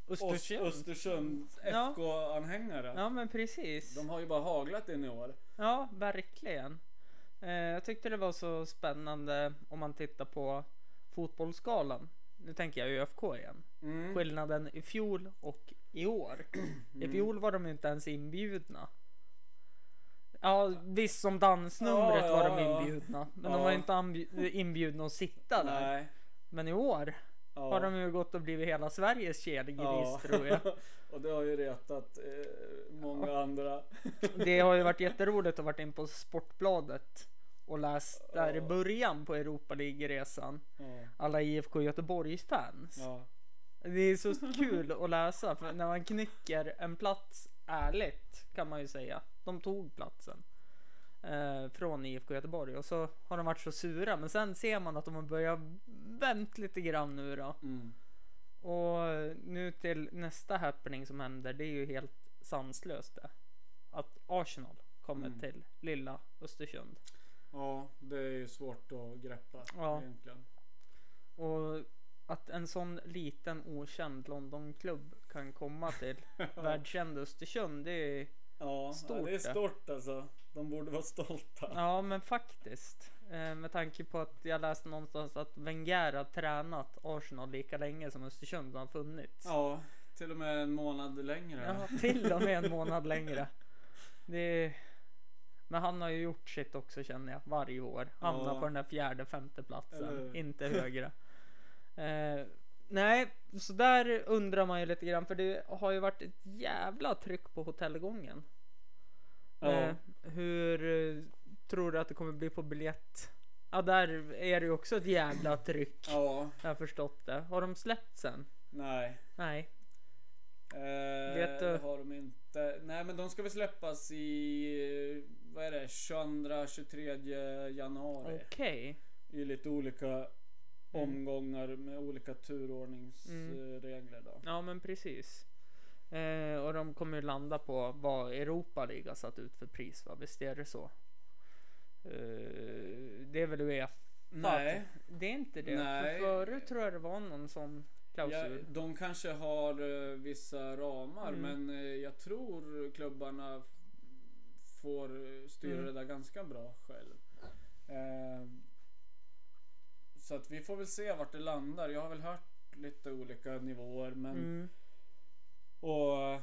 oss
Östersund.
Östersunds
Ja.
FK-anhängare.
Ja men precis.
De har ju bara haglat in i år.
Ja, verkligen. Eh, jag tyckte det var så spännande om man tittar på fotbollsskalan. Nu tänker jag ÖFK igen.
Mm.
Skillnaden i fjol och i
[CLEARS THROAT]
år. I fjol var de ju inte ens inbjudna. Ja, visst som dansnumret
Ja,
var
ja,
de
ja.
inbjudna. Men de
Ja.
var ju inte anbju- inbjudna att sitta där.
Nej.
Men i år
Ja.
har de ju gått och blivit hela Sveriges kelgris
Ja.
tror
[LAUGHS]
jag.
och det har ju retat eh, många andra.
Det har ju varit jätteroligt att varit in på Sportbladet och läst där i
Ja.
början på Europa League-resan.
ja.
Alla IFK Göteborgs-fans.
Ja.
Det är så kul att läsa för när man knycker en plats ärligt kan man ju säga. De tog platsen eh, från IFK Göteborg och så har de varit så sura men sen ser man att de har börjat vänt lite grann nu då.
Mm.
Och nu till nästa happening som händer. Det är ju helt sanslöst det. Att Arsenal kommer
Mm.
till lilla Östersund.
ja, det är ju svårt att greppa
Ja.
egentligen.
Och att en sån liten okänd Londonklubb kan komma till världskänd Östersund. Det är,
Ja,
Stort
ja, det är
det.
stort alltså. De borde vara stolta.
ja men faktiskt. Eh, med tanke på att jag läste någonstans att Wenger har tränat Arsenal lika länge som Östersund har funnits.
Ja, till och med en månad längre.
Ja, till och med en månad längre. Det är... Men han har ju gjort sitt också känner jag varje år. Hamnar
Ja.
på den där fjärde, femte platsen.
Eller hur?
Inte högre. Eh, nej, så där undrar man ju lite grann. För det har ju varit ett jävla tryck på hotellgången.
Ja.
Eh, hur eh, tror du att det kommer bli på biljett? Ja, där är det ju också ett jävla tryck.
Ja,
Jag har förstått det. Har de släppt sen?
nej.
Nej.
Eh,
Vet du-
Det har de inte. Nej, men de ska väl släppas i, eh, vad är det, 22, 23 januari.
Okej.
I lite olika omgångar med olika
Mm.
turordningsregler då.
Ja men precis. Eh, och de kommer ju landa på vad Europa League har satt ut för pris va? Visst är det så? Eh, det är väl Uefa?
Nej.
Det är inte det.
Nej.
För förut tror jag det var någon sån
Ja,
klausul.
de kanske har eh, vissa ramar
Mm.
men eh, jag tror klubbarna f- får eh, styra
Mm.
det där ganska bra själv. Eh, så att vi får väl se vart det landar. Jag har väl hört lite olika nivåer men
Mm.
och eh,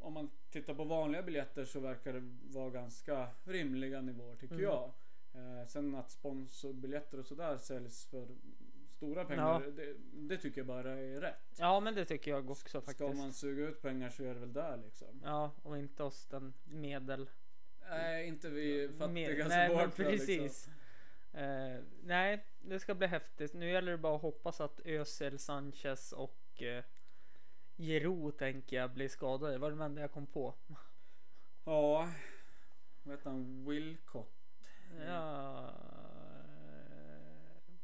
om man tittar på vanliga biljetter så verkar det vara ganska rimliga nivåer tycker
Mm.
jag. Eh, sen att sponsorbiljetter och sådär säljs för stora pengar,
Ja.
det, det tycker jag bara är rätt.
Ja men det tycker jag också
Ska
faktiskt.
man suga ut pengar så är det väl där liksom.
Ja och inte oss den medel.
Nej, inte vi
Med-
fattiga
Nej men
supportrar
precis.
Liksom.
Eh, nej det ska bli häftigt. Nu gäller det bara att hoppas att Özil, Sanchez och eh, Giroud tänker jag blir skadade. Det var det enda jag kom på.
Ja, vad heter han? Wilcott. Mm.
Ja...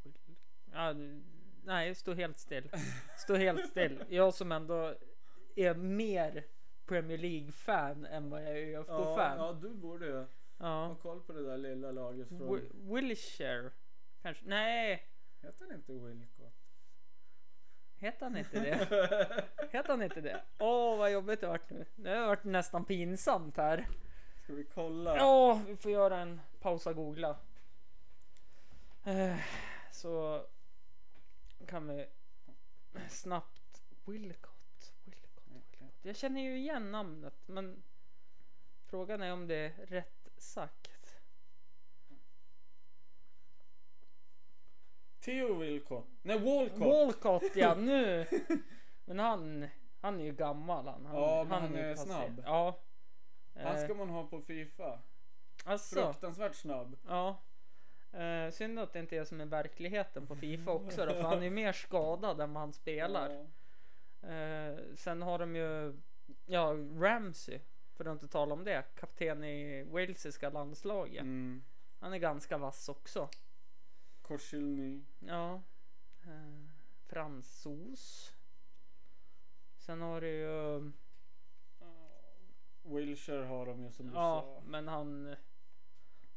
eh, ja du- nej, stå helt still. Stå helt
[LAUGHS]
still. Jag som ändå är mer Premier League-fan än vad jag är
Ja,
ÖFK-fan. Ja,
ja, du borde ju ha koll på det där lilla laget från...
Wi- Wilshire. Kanske. Nej,
Heter han
[LAUGHS]
inte Wilcott?
heter han inte
[LAUGHS]
det? Heter han inte det? Åh, vad jobbigt det vart nu. Det har varit nästan pinsamt här.
Ska vi kolla?
Ja, vi får göra en pausa googla. Eh, Så kan vi snabbt Wilcott, Wilcott, Wilcott. Jag känner ju igen namnet men frågan är om det är rätt sagt.
Theo Wilcott. Nej, Walcott. [LAUGHS]
Walcott ja, nu! Men han, han är ju gammal han. han
Ja, men han
ju
är
passé.
snabb.
Ja.
Han
Eh,
ska man ha på Fifa.
alltså,
Fruktansvärt snabb.
ja. Eh, synd att det inte är som i verkligheten på Fifa också då, för han är ju mer skadad än vad han spelar.
Ja.
Eh, sen har de ju, ja, Ramsey. För att inte tala om det. Kapten i walesiska landslaget.
Mm.
Han är ganska vass också.
Korsilny.
Ja. Eh, fransos. Sen har du ju...
Wilshire har de ju som du
Ja,
sa.
men han...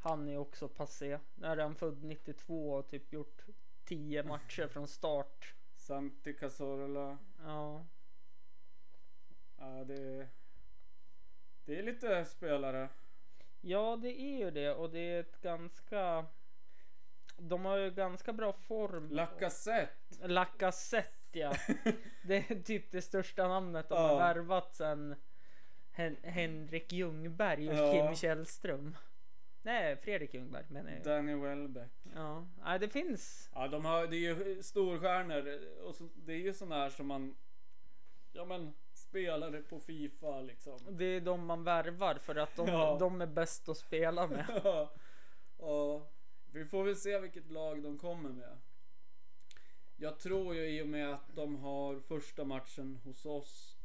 Han är också passé. När han född 92 och typ gjort 10 matcher från start.
Santi Cazorla.
Ja.
Ja, det är... Det är lite spelare.
Ja, det är ju det och det är ett ganska... De har ju ganska bra form.
Lacazette.
Lacazette
[LAUGHS]
ja. Det är typ det största namnet de
Ja.
har värvat sen Hen- Henrik Ljungberg och
Ja.
Kim Källström. Nej, Fredrik Ljungberg menar jag.
Danny Welbeck.
Ja, Nej, det finns.
Ja, de har, det är ju storstjärnor och så, det är ju sådana här som man... Ja men, spelare på Fifa liksom. [LAUGHS]
Det är de man värvar för att de,
Ja.
de är bäst att spela
[LAUGHS]
med.
Ja. ja. Vi får väl se vilket lag de kommer med. Jag tror ju i och med att de har första matchen hos oss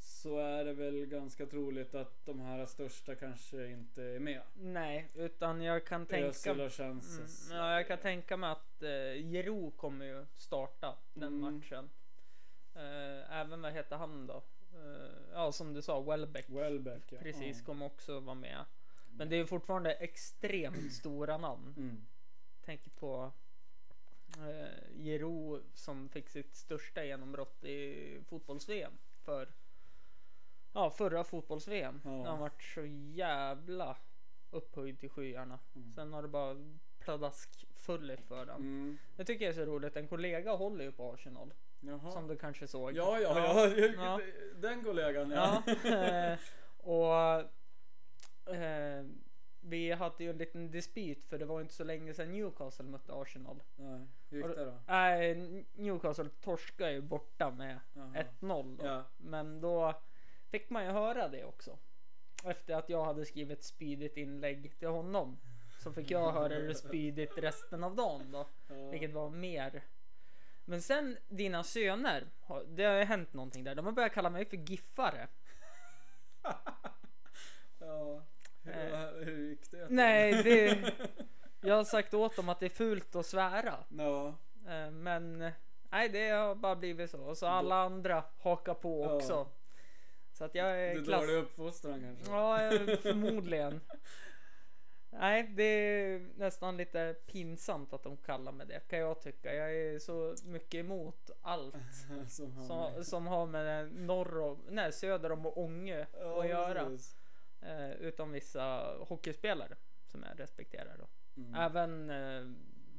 så är det väl ganska troligt att de här största kanske inte är med.
Nej, utan jag kan tänka
Özil
mm,
och Chances.
ja, Jag kan tänka mig att eh, Jero kommer ju starta den
Mm.
matchen. Eh, även vad heter han då? Eh, ja, som du sa, Welbeck.
Welbeck ja. Mm.
Precis,
Ja.
kommer också vara med. Men det är ju fortfarande extremt stora namn.
Mm.
Tänker på eh, Jero som fick sitt största genombrott i fotbolls-VM. För, ja, förra fotbolls-VM.
Ja.
När han vart så jävla upphöjd till skyarna. Sen har det bara pladask fulligt för den.
Mm.
Det tycker jag är så roligt. En kollega håller ju på Arsenal.
Jaha.
Som du kanske såg.
Ja, ja, ja. [LAUGHS]
Ja.
Den kollegan ja.
Ja.
[LAUGHS]
eh, [LAUGHS] och eh, vi hade ju en liten dispyt för det var inte så länge sedan Newcastle mötte Arsenal.
Nej, hur gick det då?
Nej, Newcastle torskade ju borta med
Jaha.
1-0 då.
Ja.
Men då fick man ju höra det också. Efter att jag hade skrivit ett spydigt inlägg till honom. Så fick jag höra det spydigt resten av dagen då. Vilket var mer. Men sen dina söner. har- Det har ju hänt någonting där. De har börjat kalla mig för giffare.
[LAUGHS] Ja. Hur, hur gick det?
Eh. Nej, det... Jag har sagt åt dem att det är fult att svära.
Ja.
Eh, Men eh, nej, det har bara blivit så. Och så alla andra hakar på
Ja.
också. Så att jag
Du
är Eh, klass...
drar i uppfostran kanske?
Ja, eh, förmodligen. Nej, det är nästan lite pinsamt att de kallar mig det kan jag tycka. Jag är så mycket emot allt
[LAUGHS] Som han
som, som har med norr om, nej, söder om och Ånge
Ja,
att göra.
precis.
Eh, utom vissa hockeyspelare som jag respekterar då.
Mm.
Även eh,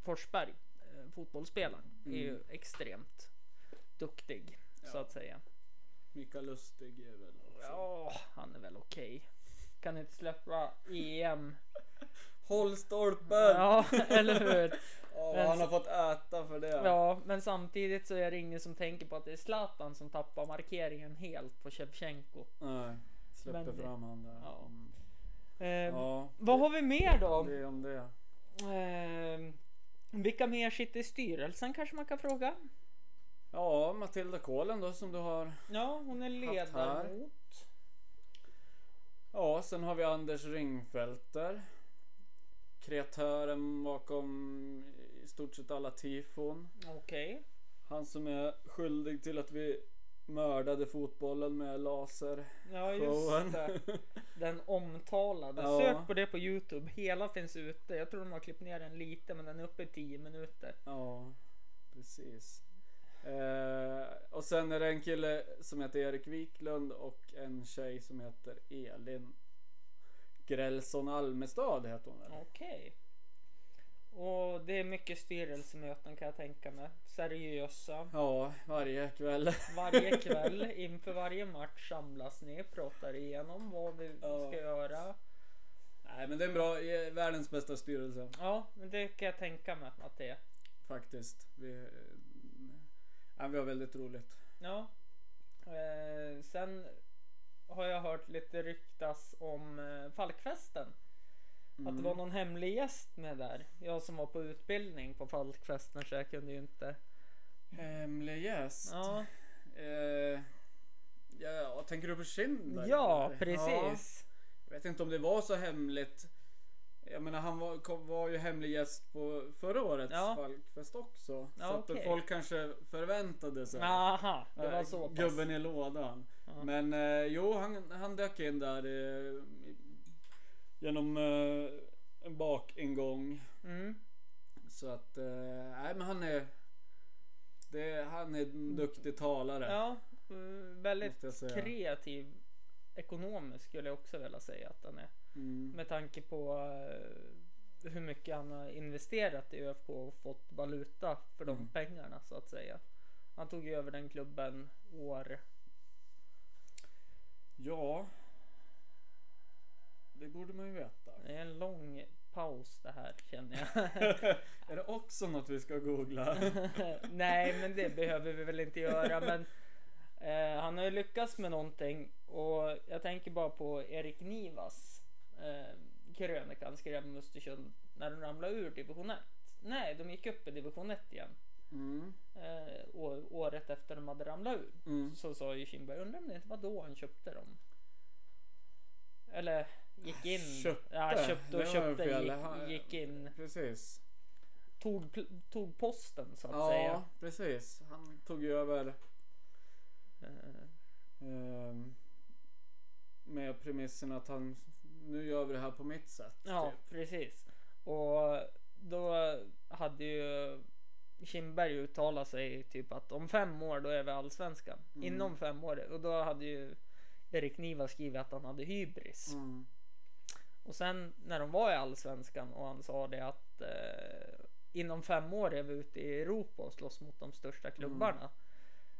Forsberg, eh, fotbollsspelaren, är ju
Mm.
extremt duktig så
Ja.
att säga.
Mikael Lustig är väl också.
Ja, han är väl okej. Kan inte släppa EM.
Håll stolpen!
Ja, [LAUGHS] eller
[LAUGHS]
hur?
Ja,
Men-
han har fått äta för det.
Ja, men samtidigt så är det ingen som tänker på att det är Zlatan som tappar markeringen helt på Shevchenko.
Nej, släpper
Men-
fram han där.
Ja.
Mm.
Eh,
ja.
Vad har vi mer då?
Det är om det.
Eh, vilka mer sitter i styrelsen kanske man kan fråga?
Ja, Matilda Kålen då som du har.
Ja, hon är
Haft här.
ledamot.
Ja, sen har vi Anders Ringfelter. Kreatören bakom i stort sett alla tifon.
Okej.
Han som är skyldig till att vi mördade fotbollen med laser.
Ja, just det. Den omtalade.
Ja.
Sök på det på Youtube. Hela finns ute. Jag tror de har klippt ner den lite men den är uppe i 10 minuter.
Ja, precis. Eh, och sen är det en kille som heter Erik Wiklund och en tjej som heter Elin Grälsson Almestad heter hon väl?
Okej. Och det är mycket styrelsemöten kan jag tänka mig. Seriösa.
Ja, varje kväll. [LAUGHS]
Varje kväll inför varje match samlas ni, pratar igenom vad vi
Ja.
ska göra.
Nej men det är en bra, eh, världens bästa styrelse
Ja, men det kan jag tänka mig att det är.
faktiskt. Vi, eh, ja, vi har väldigt roligt.
Ja. Eh, sen har jag hört lite ryktas om eh, Falkfesten. Att
Mm.
det var någon hemlig gäst med där. Jag som var på utbildning på Falkfesten så jag kunde ju inte.
Hemlig gäst.
Ja,
Eh, ja, tänker du på Kindberg?
ja
eller?
precis.
Jag vet inte om det var så hemligt. Jag menar han var, kom, var ju hemlig gäst på förra årets
Ja.
Falkfest också.
Ja,
så att
okej.
folk kanske förväntade sig.
Aha, det var
eh,
så pass.
Gubben i lådan.
Ja.
Men eh, jo, han, han dök in där eh, genom eh, en bakingång.
Mm.
Så att, eh, nej men han är, det, han är en duktig talare.
Mm. Ja, eh, väldigt
Måste jag säga.
kreativ ekonomisk skulle jag också vilja säga att han är.
Mm.
Med tanke på eh, hur mycket han har investerat i ÖFK och fått valuta för de
Mm.
pengarna så att säga. Han tog ju över den klubben år.
Ja. Det borde man ju veta.
Det är en lång paus det här känner jag.
[LAUGHS]
[LAUGHS]
är det också något vi ska googla?
Nej, men det behöver vi väl inte göra. Men eh, han har ju lyckats med någonting och jag tänker bara på Erik Nivas eh, krönika han skrev om Östersund när de ramlade ur division 1. Nej, de gick upp i division 1 igen.
Mm.
Eh, å- året efter de hade ramlat ur
Mm.
så sa ju Kindberg, undrar om det inte var då han köpte dem. Eller gick in.
Köpte.
Ja, köpte
Det
och
var
köpte.
fel.
Gick,
Han-
gick in.
Precis.
Tog, pl- tog posten så att
Ja,
säga.
precis. Han tog ju över
Eh,
ehm, med premissen att han nu gör vi det här på mitt sätt.
Ja,
typ.
precis. Och då hade ju Kindberg uttalat sig typ att om fem år då är vi allsvenskan.
Mm.
Inom fem år. Och då hade ju Erik Niva skrivit att han hade hybris.
Mm.
Och sen när de var i allsvenskan och han sa det att eh, inom fem år är vi ute i Europa och slåss mot de största
Mm.
klubbarna.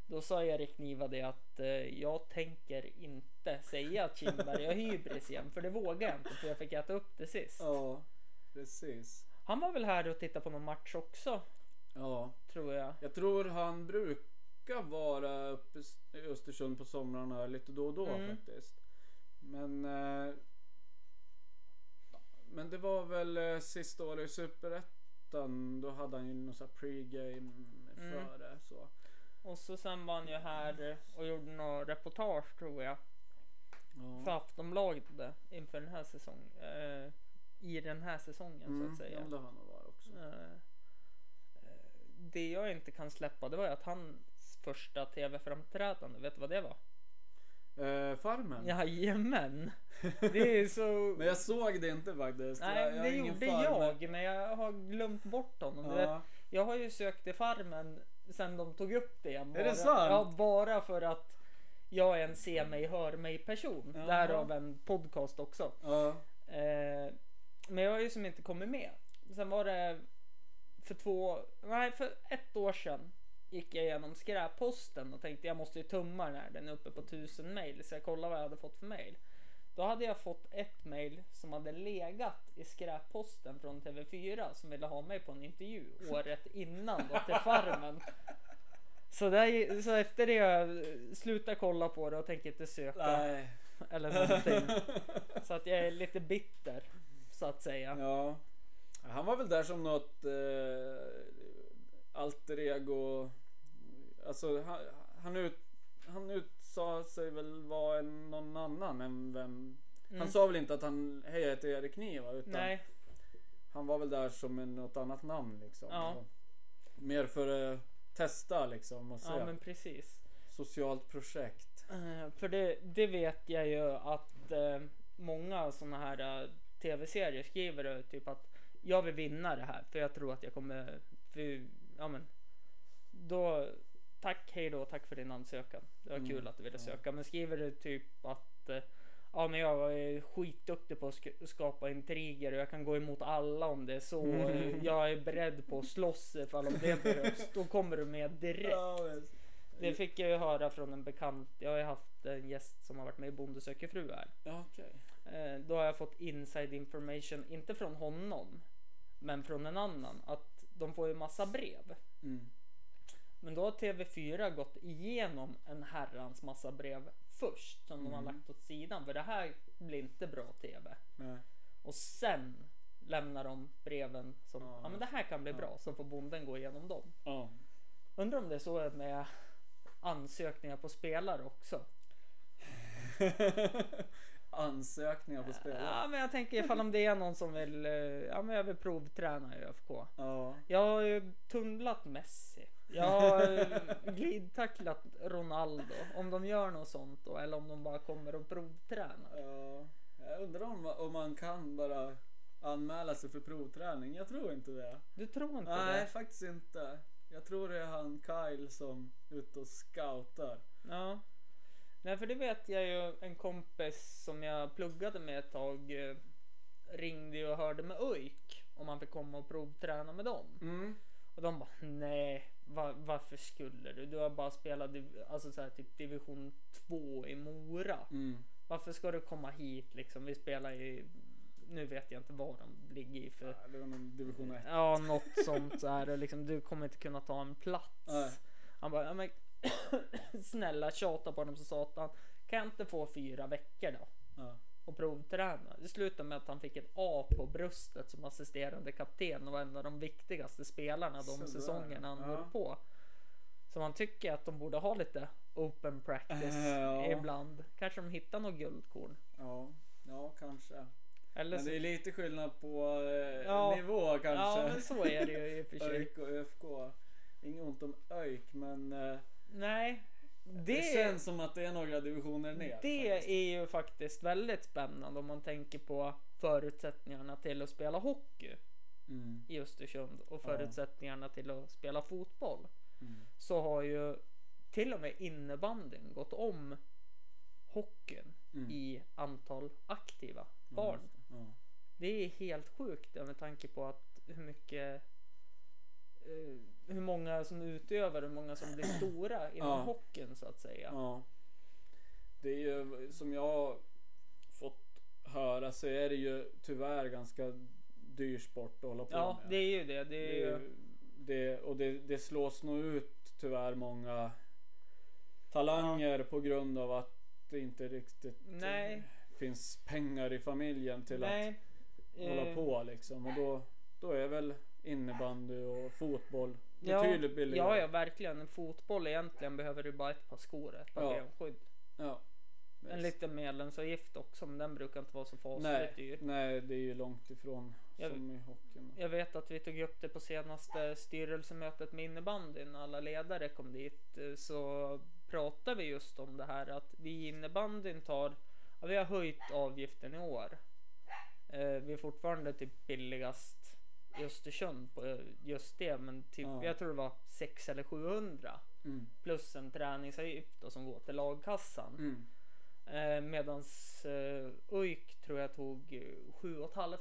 Då sa Erik Niva det att eh, jag tänker inte säga att Kindberg har hybris igen för det vågar jag inte för jag fick äta upp det sist.
Ja, precis.
Han var väl här och tittade på någon match också
Ja,
tror jag.
jag tror han brukar vara uppe i Östersund på somrarna lite då och då
Mm.
faktiskt. Men eh, men det var väl eh, sista året i Superettan. Då hade han ju någon sån här pregame
Mm.
före. Så.
Och så sen var han ju här och gjorde några reportage tror jag
Ja.
för Aftonbladet där, inför den här säsongen. Eh, I den här säsongen så
Mm,
att
ja,
säga.
det har han nog varit också.
Eh, Det jag inte kan släppa det var ju att hans första tv-framträdande, vet du vad det var?
Eh, farmen?
Jajamän! Det är så...
[LAUGHS] Men jag såg det inte faktiskt. jag,
Nej,
jag
det
är ingen
gjorde
farmer.
jag, men jag har glömt bort honom. Du vet,
Ja.
jag har ju sökt i Farmen sen de tog upp det. Bara,
det sant?
Ja, bara för att jag är en se mig, hör mig person.
Jaha.
Därav en podcast också.
Ja.
Eh, men jag har ju som inte kommit med. Sen var det för två, nej för ett år sedan gick jag igenom skräpposten och tänkte jag måste ju tumma den här. Den är uppe på tusen mail så jag kollade vad jag hade fått för mail. Då hade jag fått ett mail som hade legat i skräpposten från TV4 som ville ha mig på en intervju året innan då till Farmen. Så, där, så efter det har jag slutat kolla på det och tänker inte söka
Nej.
eller någonting. Så att jag är lite bitter så att säga.
Ja. Han var väl där som något eh, alter ego. Alltså han, han, ut, han utsa sig väl vara en, någon annan än vem. Han sa väl inte att han, hej jag heter Erik Niva. Utan
Mm. Nej,
han var väl där som en, något annat namn liksom.
Ja.
Och Mer för att testa liksom och se.
ja men precis.
Socialt projekt.
Eh, För det, det vet jag ju att eh, många sådana här eh, tv-serier skriver ju typ att jag vill vinna det här för jag tror att jag kommer... För, ja men. Då, tack, hej då, tack för din ansökan. Det var
Mm,
kul att du ville
ja.
söka. Men skriver du typ att eh, ja men jag är skitduktig på att sk- skapa intriger och jag kan gå emot alla om det är så.
Mm.
Jag är beredd på att slåss ifall om det behövs. Då kommer du med direkt. Det fick jag ju höra från en bekant. Jag har ju haft en gäst som har varit med i Bonde söker fru här.
Ja, okej.
Eh, Då har jag fått inside information, inte från honom, men från en annan. Att de får ju massa brev.
Mm.
Men då har TV4 gått igenom en herrans massa brev först som de har lagt åt sidan för det här blir inte bra TV.
Nej.
Och sen lämnar de breven som
Ja,
ja, men det här kan bli bra så får bonden gå igenom dem.
Ja.
Undrar om det är så med ansökningar på spelare också.
[LAUGHS] Ansökningar på spelare.
Ja, men jag tänker ifall om det är någon som vill, eh, ja men jag vill provträna i ÖFK.
Ja.
Jag har ju tunnlat Messi. Jag har eh, glidtacklat Ronaldo. Om de gör något sånt då eller om de bara kommer och provtränar.
ja. Jag undrar om, om man kan bara anmäla sig för provträning. Jag tror inte det.
Du tror inte
Nej,
det?
faktiskt inte. Jag tror det är han Kyle som är ute och scoutar.
Ja. Nej för det vet jag ju en kompis som jag pluggade med ett tag eh, ringde ju och hörde med ÖIK om man fick komma och provträna med dem.
Mm.
Och de bara nej va- varför skulle du? Du har bara spelat div- alltså så här, typ division 2 i Mora.
Mm.
Varför ska du komma hit liksom? Vi spelar i nu vet jag inte vad de ligger i för
Ja, Det var någon division 1.
ja [LAUGHS] något sånt så här och liksom du kommer inte kunna ta en plats.
Nej.
Han bara ja, men, [CLEARS THROAT] snälla tjata på dem så satan. Kan jag inte få fyra veckor då?
Ja.
och provträna. Det slutade med att han fick ett A på bröstet som assisterande kapten och var en av de viktigaste spelarna de
Sådär,
säsongerna han
ja.
höll på. Så man tycker att de borde ha lite open practice
Äh, ja.
ibland. Kanske de hittar något guldkorn.
Ja. ja, kanske.
Eller
Men
så,
det är lite skillnad på eh,
Ja.
nivå kanske.
ja men så är det ju i och
[LAUGHS]
för sig.
ÖIK och ÖFK. Inget ont om ÖIK men eh,
Nej,
det,
det,
känns som att det är några divisioner ner.
det
faktiskt.
är ju faktiskt väldigt spännande om man tänker på förutsättningarna till att spela hockey
Mm.
i Östersund och förutsättningarna till att spela fotboll.
Mm.
så har ju till och med innebandyn gått om hockeyn
Mm.
i antal aktiva barn.
Ja.
Det är helt sjukt ja, med tanke på att hur mycket eh, hur många som utövar hur många
[CLEARS THROAT]
som blir stora inom
Ja.
hockeyn så att säga.
ja. Det är ju som jag fått höra så är det ju tyvärr ganska dyr sport att hålla på
Ja,
med.
det är ju det. Det
Det
är
är
ju,
ju- det, och det, det slås nog ut tyvärr många talanger på grund av att det inte riktigt eh,
Nej.
finns pengar i familjen till att
nej,
hålla
eh,
på liksom. Och då, då är väl innebandy och fotboll
ja,
betydligt billigare.
Ja, ja, verkligen. Fotboll egentligen behöver du bara ett par skor, ett par
Ja.
benskydd.
Ja.
En liten medlemsavgift också, men den brukar inte vara så
nej,
fasligt dyr.
nej, det är ju långt ifrån
Jag-
som i hockeyn.
Jag vet att vi tog upp det på senaste styrelsemötet med innebandyn. Alla ledare kom dit eh, så pratade vi just om det här att vi i innebandyn tar, ja, vi har höjt avgiften i år. Eh, vi är fortfarande typ billigast i Östersund på eh, just det, men typ,
Ja.
jag tror det var 6 eller 700
Mm.
plus en träningsavgift då, som går till lagkassan.
Mm.
Eh, medans eh, UIK tror jag tog eh, 7 500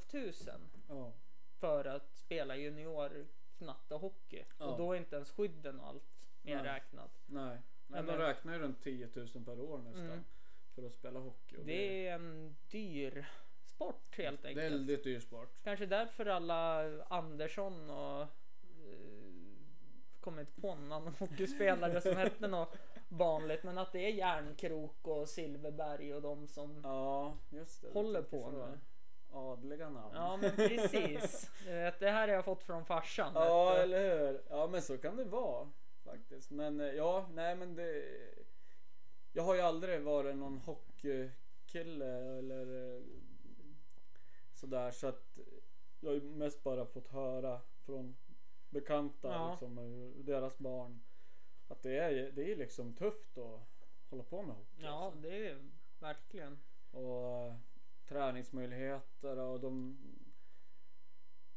Ja.
för att spela junior knattehockey.
Ja.
Och då är inte ens skydden och allt medräknat.
Nej.
Ja,
Men de
men-
räknar ju runt 10 000 per år nästan
Mm.
för att spela hockey. och
Det är en dyr sport helt enkelt.
Väldigt dyr sport.
Kanske därför alla Andersson och eh, kommer inte på någon annan hockeyspelare som hette
[LAUGHS]
något vanligt men att det är Järnkrok och Silverberg och de som
Ja, just det.
Håller
Du tänker
på
så.
nu.
Adliga namn.
Ja men precis. Du vet, Det här har jag fått från farsan. eh,
Ja,
vet du.
eller hur? Ja, men så kan det vara faktiskt. Men eh, ja, nej, men det. Jag har ju aldrig varit någon hockeykille eller eh, sådär så att jag har ju mest bara fått höra från bekanta
Ja.
liksom, hur deras barn att det är ju- det är liksom tufft att hålla på med hockey. alltså.
Ja det är ju verkligen.
och eh, träningsmöjligheter och de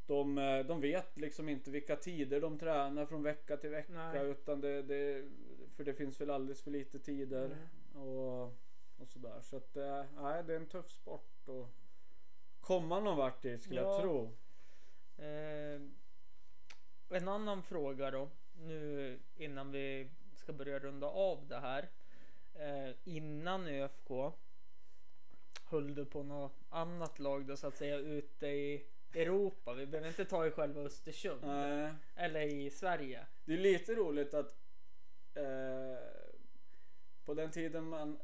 de, eh, de vet liksom inte vilka tider de tränar från vecka till vecka
Nej.
utan det, det för det finns väl alldeles för lite tider
Mm.
och, och sådär så att eh, nej, det är en tuff sport och komma någon vart i skulle jag
Ja.
tro.
Eh, en annan fråga då. Nu innan vi ska börja runda av det här. Eh, innan ÖFK. Höll du på något annat lag då så att säga ute i Europa? Vi behöver inte ta i själva Östersund.
Nej.
Eller i Sverige.
Det är Eh, lite roligt att eh, på den tiden man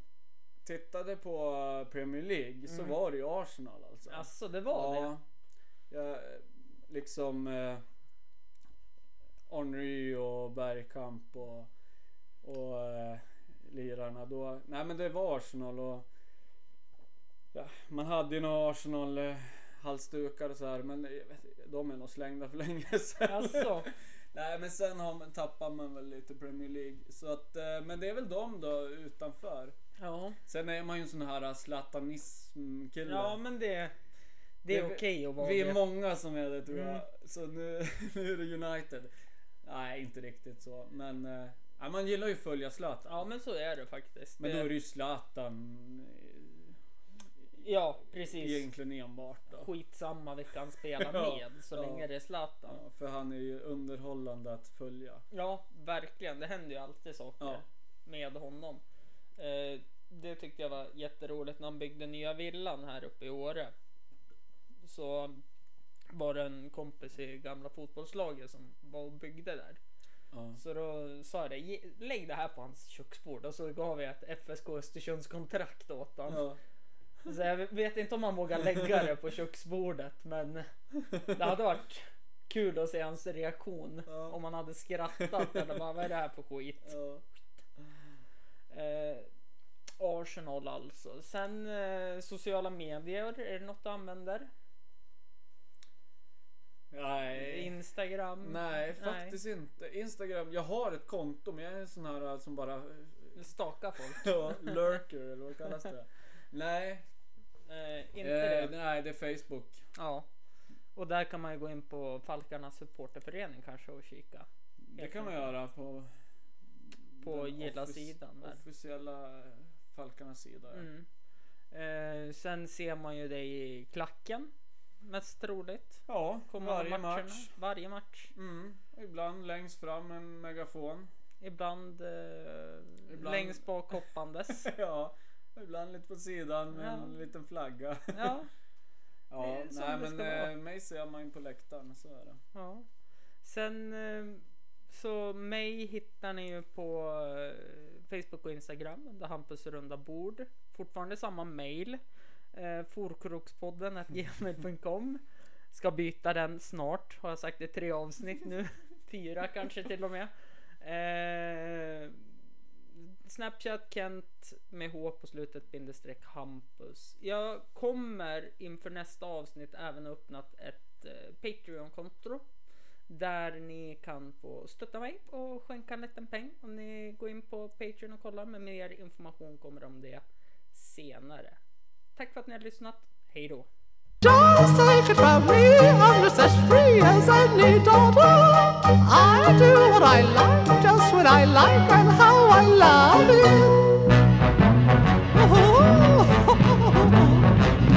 tittade på Premier League
Mm.
så var det ju Arsenal alltså.
Alltså det var det?
Jag, liksom eh, Henry och Bergkamp och, och eh, lirarna då. Nej men det var Arsenal och ja, man hade ju några Arsenal eh, halsdukar och så här men jag vet, de är nog slängda för länge sedan.
Alltså.
[LAUGHS] Nej men sen har man, tappar man väl lite Premier League. Så att, eh, men det är väl de då utanför.
Ja.
Sen är man ju en sån här eh, zlatanism-kille.
Ja men det, det är
vi-
okej att vara
Vi är
det.
många som är det tror jag.
Mm.
Så nu, [LAUGHS] nu är det United. Nej, inte riktigt så. Men eh, ja, man gillar ju att följa Zlatan.
Ja men så är det faktiskt.
Men
Det-
då är det ju Zlatan
Ja
eh,
precis.
egentligen enbart. Då.
Skitsamma vilka han spelar
Ja,
med så
ja.
länge det är Zlatan.
Ja, för han är ju underhållande att följa.
Ja, verkligen. Det händer ju alltid saker
Ja.
med honom. Eh, det tyckte jag var jätteroligt när han byggde nya villan här uppe i Åre. Så var det en kompis i gamla fotbollslaget som var och byggde där.
Ja.
Så då sa jag det, "Ge- lägg det här på hans köksbord och så gav jag ett FSK Östersunds kontrakt åt honom.
Ja.
Så jag vet inte om han vågar lägga det på köksbordet men det hade varit kul att se hans reaktion.
Ja.
Om han hade skrattat eller bara vad är det här för skit?
Ja.
Eh, Arsenal alltså. Sen eh, sociala medier, är det något du använder?
Nej.
Instagram?
Nej, faktiskt inte. Instagram. Jag har ett konto men jag är en sån här eh,
[LAUGHS]
som bara
Staka folk?
ja, lurker eller vad
[LAUGHS]
kallas det? Nej,
Eh, inte
eh,
det?
nej, det är Facebook.
Ja. Och där kan man ju gå in på Falkarnas supporterförening kanske och kika.
Det
Helt
kan man
enkelt.
göra på...
På
den
gilla-sidan där.
Officiella Falkarnas sida. ja.
Mm. Eh, sen ser man ju dig i klacken. Mest roligt.
Ja,
Kommer
varje
alla matcherna.
match.
Varje match.
Mm. och Ibland längst fram en megafon. [LAUGHS]
Ibland, eh,
Ibland-
längst bak
[LAUGHS]
hoppandes.
ja, och ibland lite på sidan med
Ja.
en liten flagga.
ja. Det
ja,
är som
nej
det
men
ska vara.
eh, mig ser man ju på läktaren. Så är det.
Ja. Sen eh, så mig hittar ni ju på eh, Facebook och Instagram under Hampus runda bord. Fortfarande samma mail. Eh, Forkrokspodden att gmail.com. Ska byta den snart har jag sagt i tre avsnitt nu. Fyra kanske till och med. Eh, Snapchat Kent med H på slutet bindestreck Hampus. Jag kommer inför nästa avsnitt även ha öppnat ett eh, Patreon-konto. Där ni kan få stötta mig och skänka en liten peng om ni går in på Patreon och kollar. Men mer information kommer om det senare. Tack för att ni har lyssnat. Hej då!
Just take it from me, I'm just as free as any daughter. I do what I like, just what I like, and how I love it.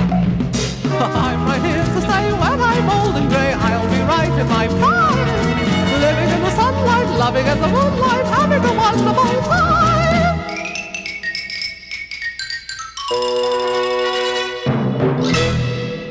[LAUGHS] I'm right here to stay when I'm old and grey. I'll be right in my prime, living in the sunlight, loving in the moonlight, having a wonderful time.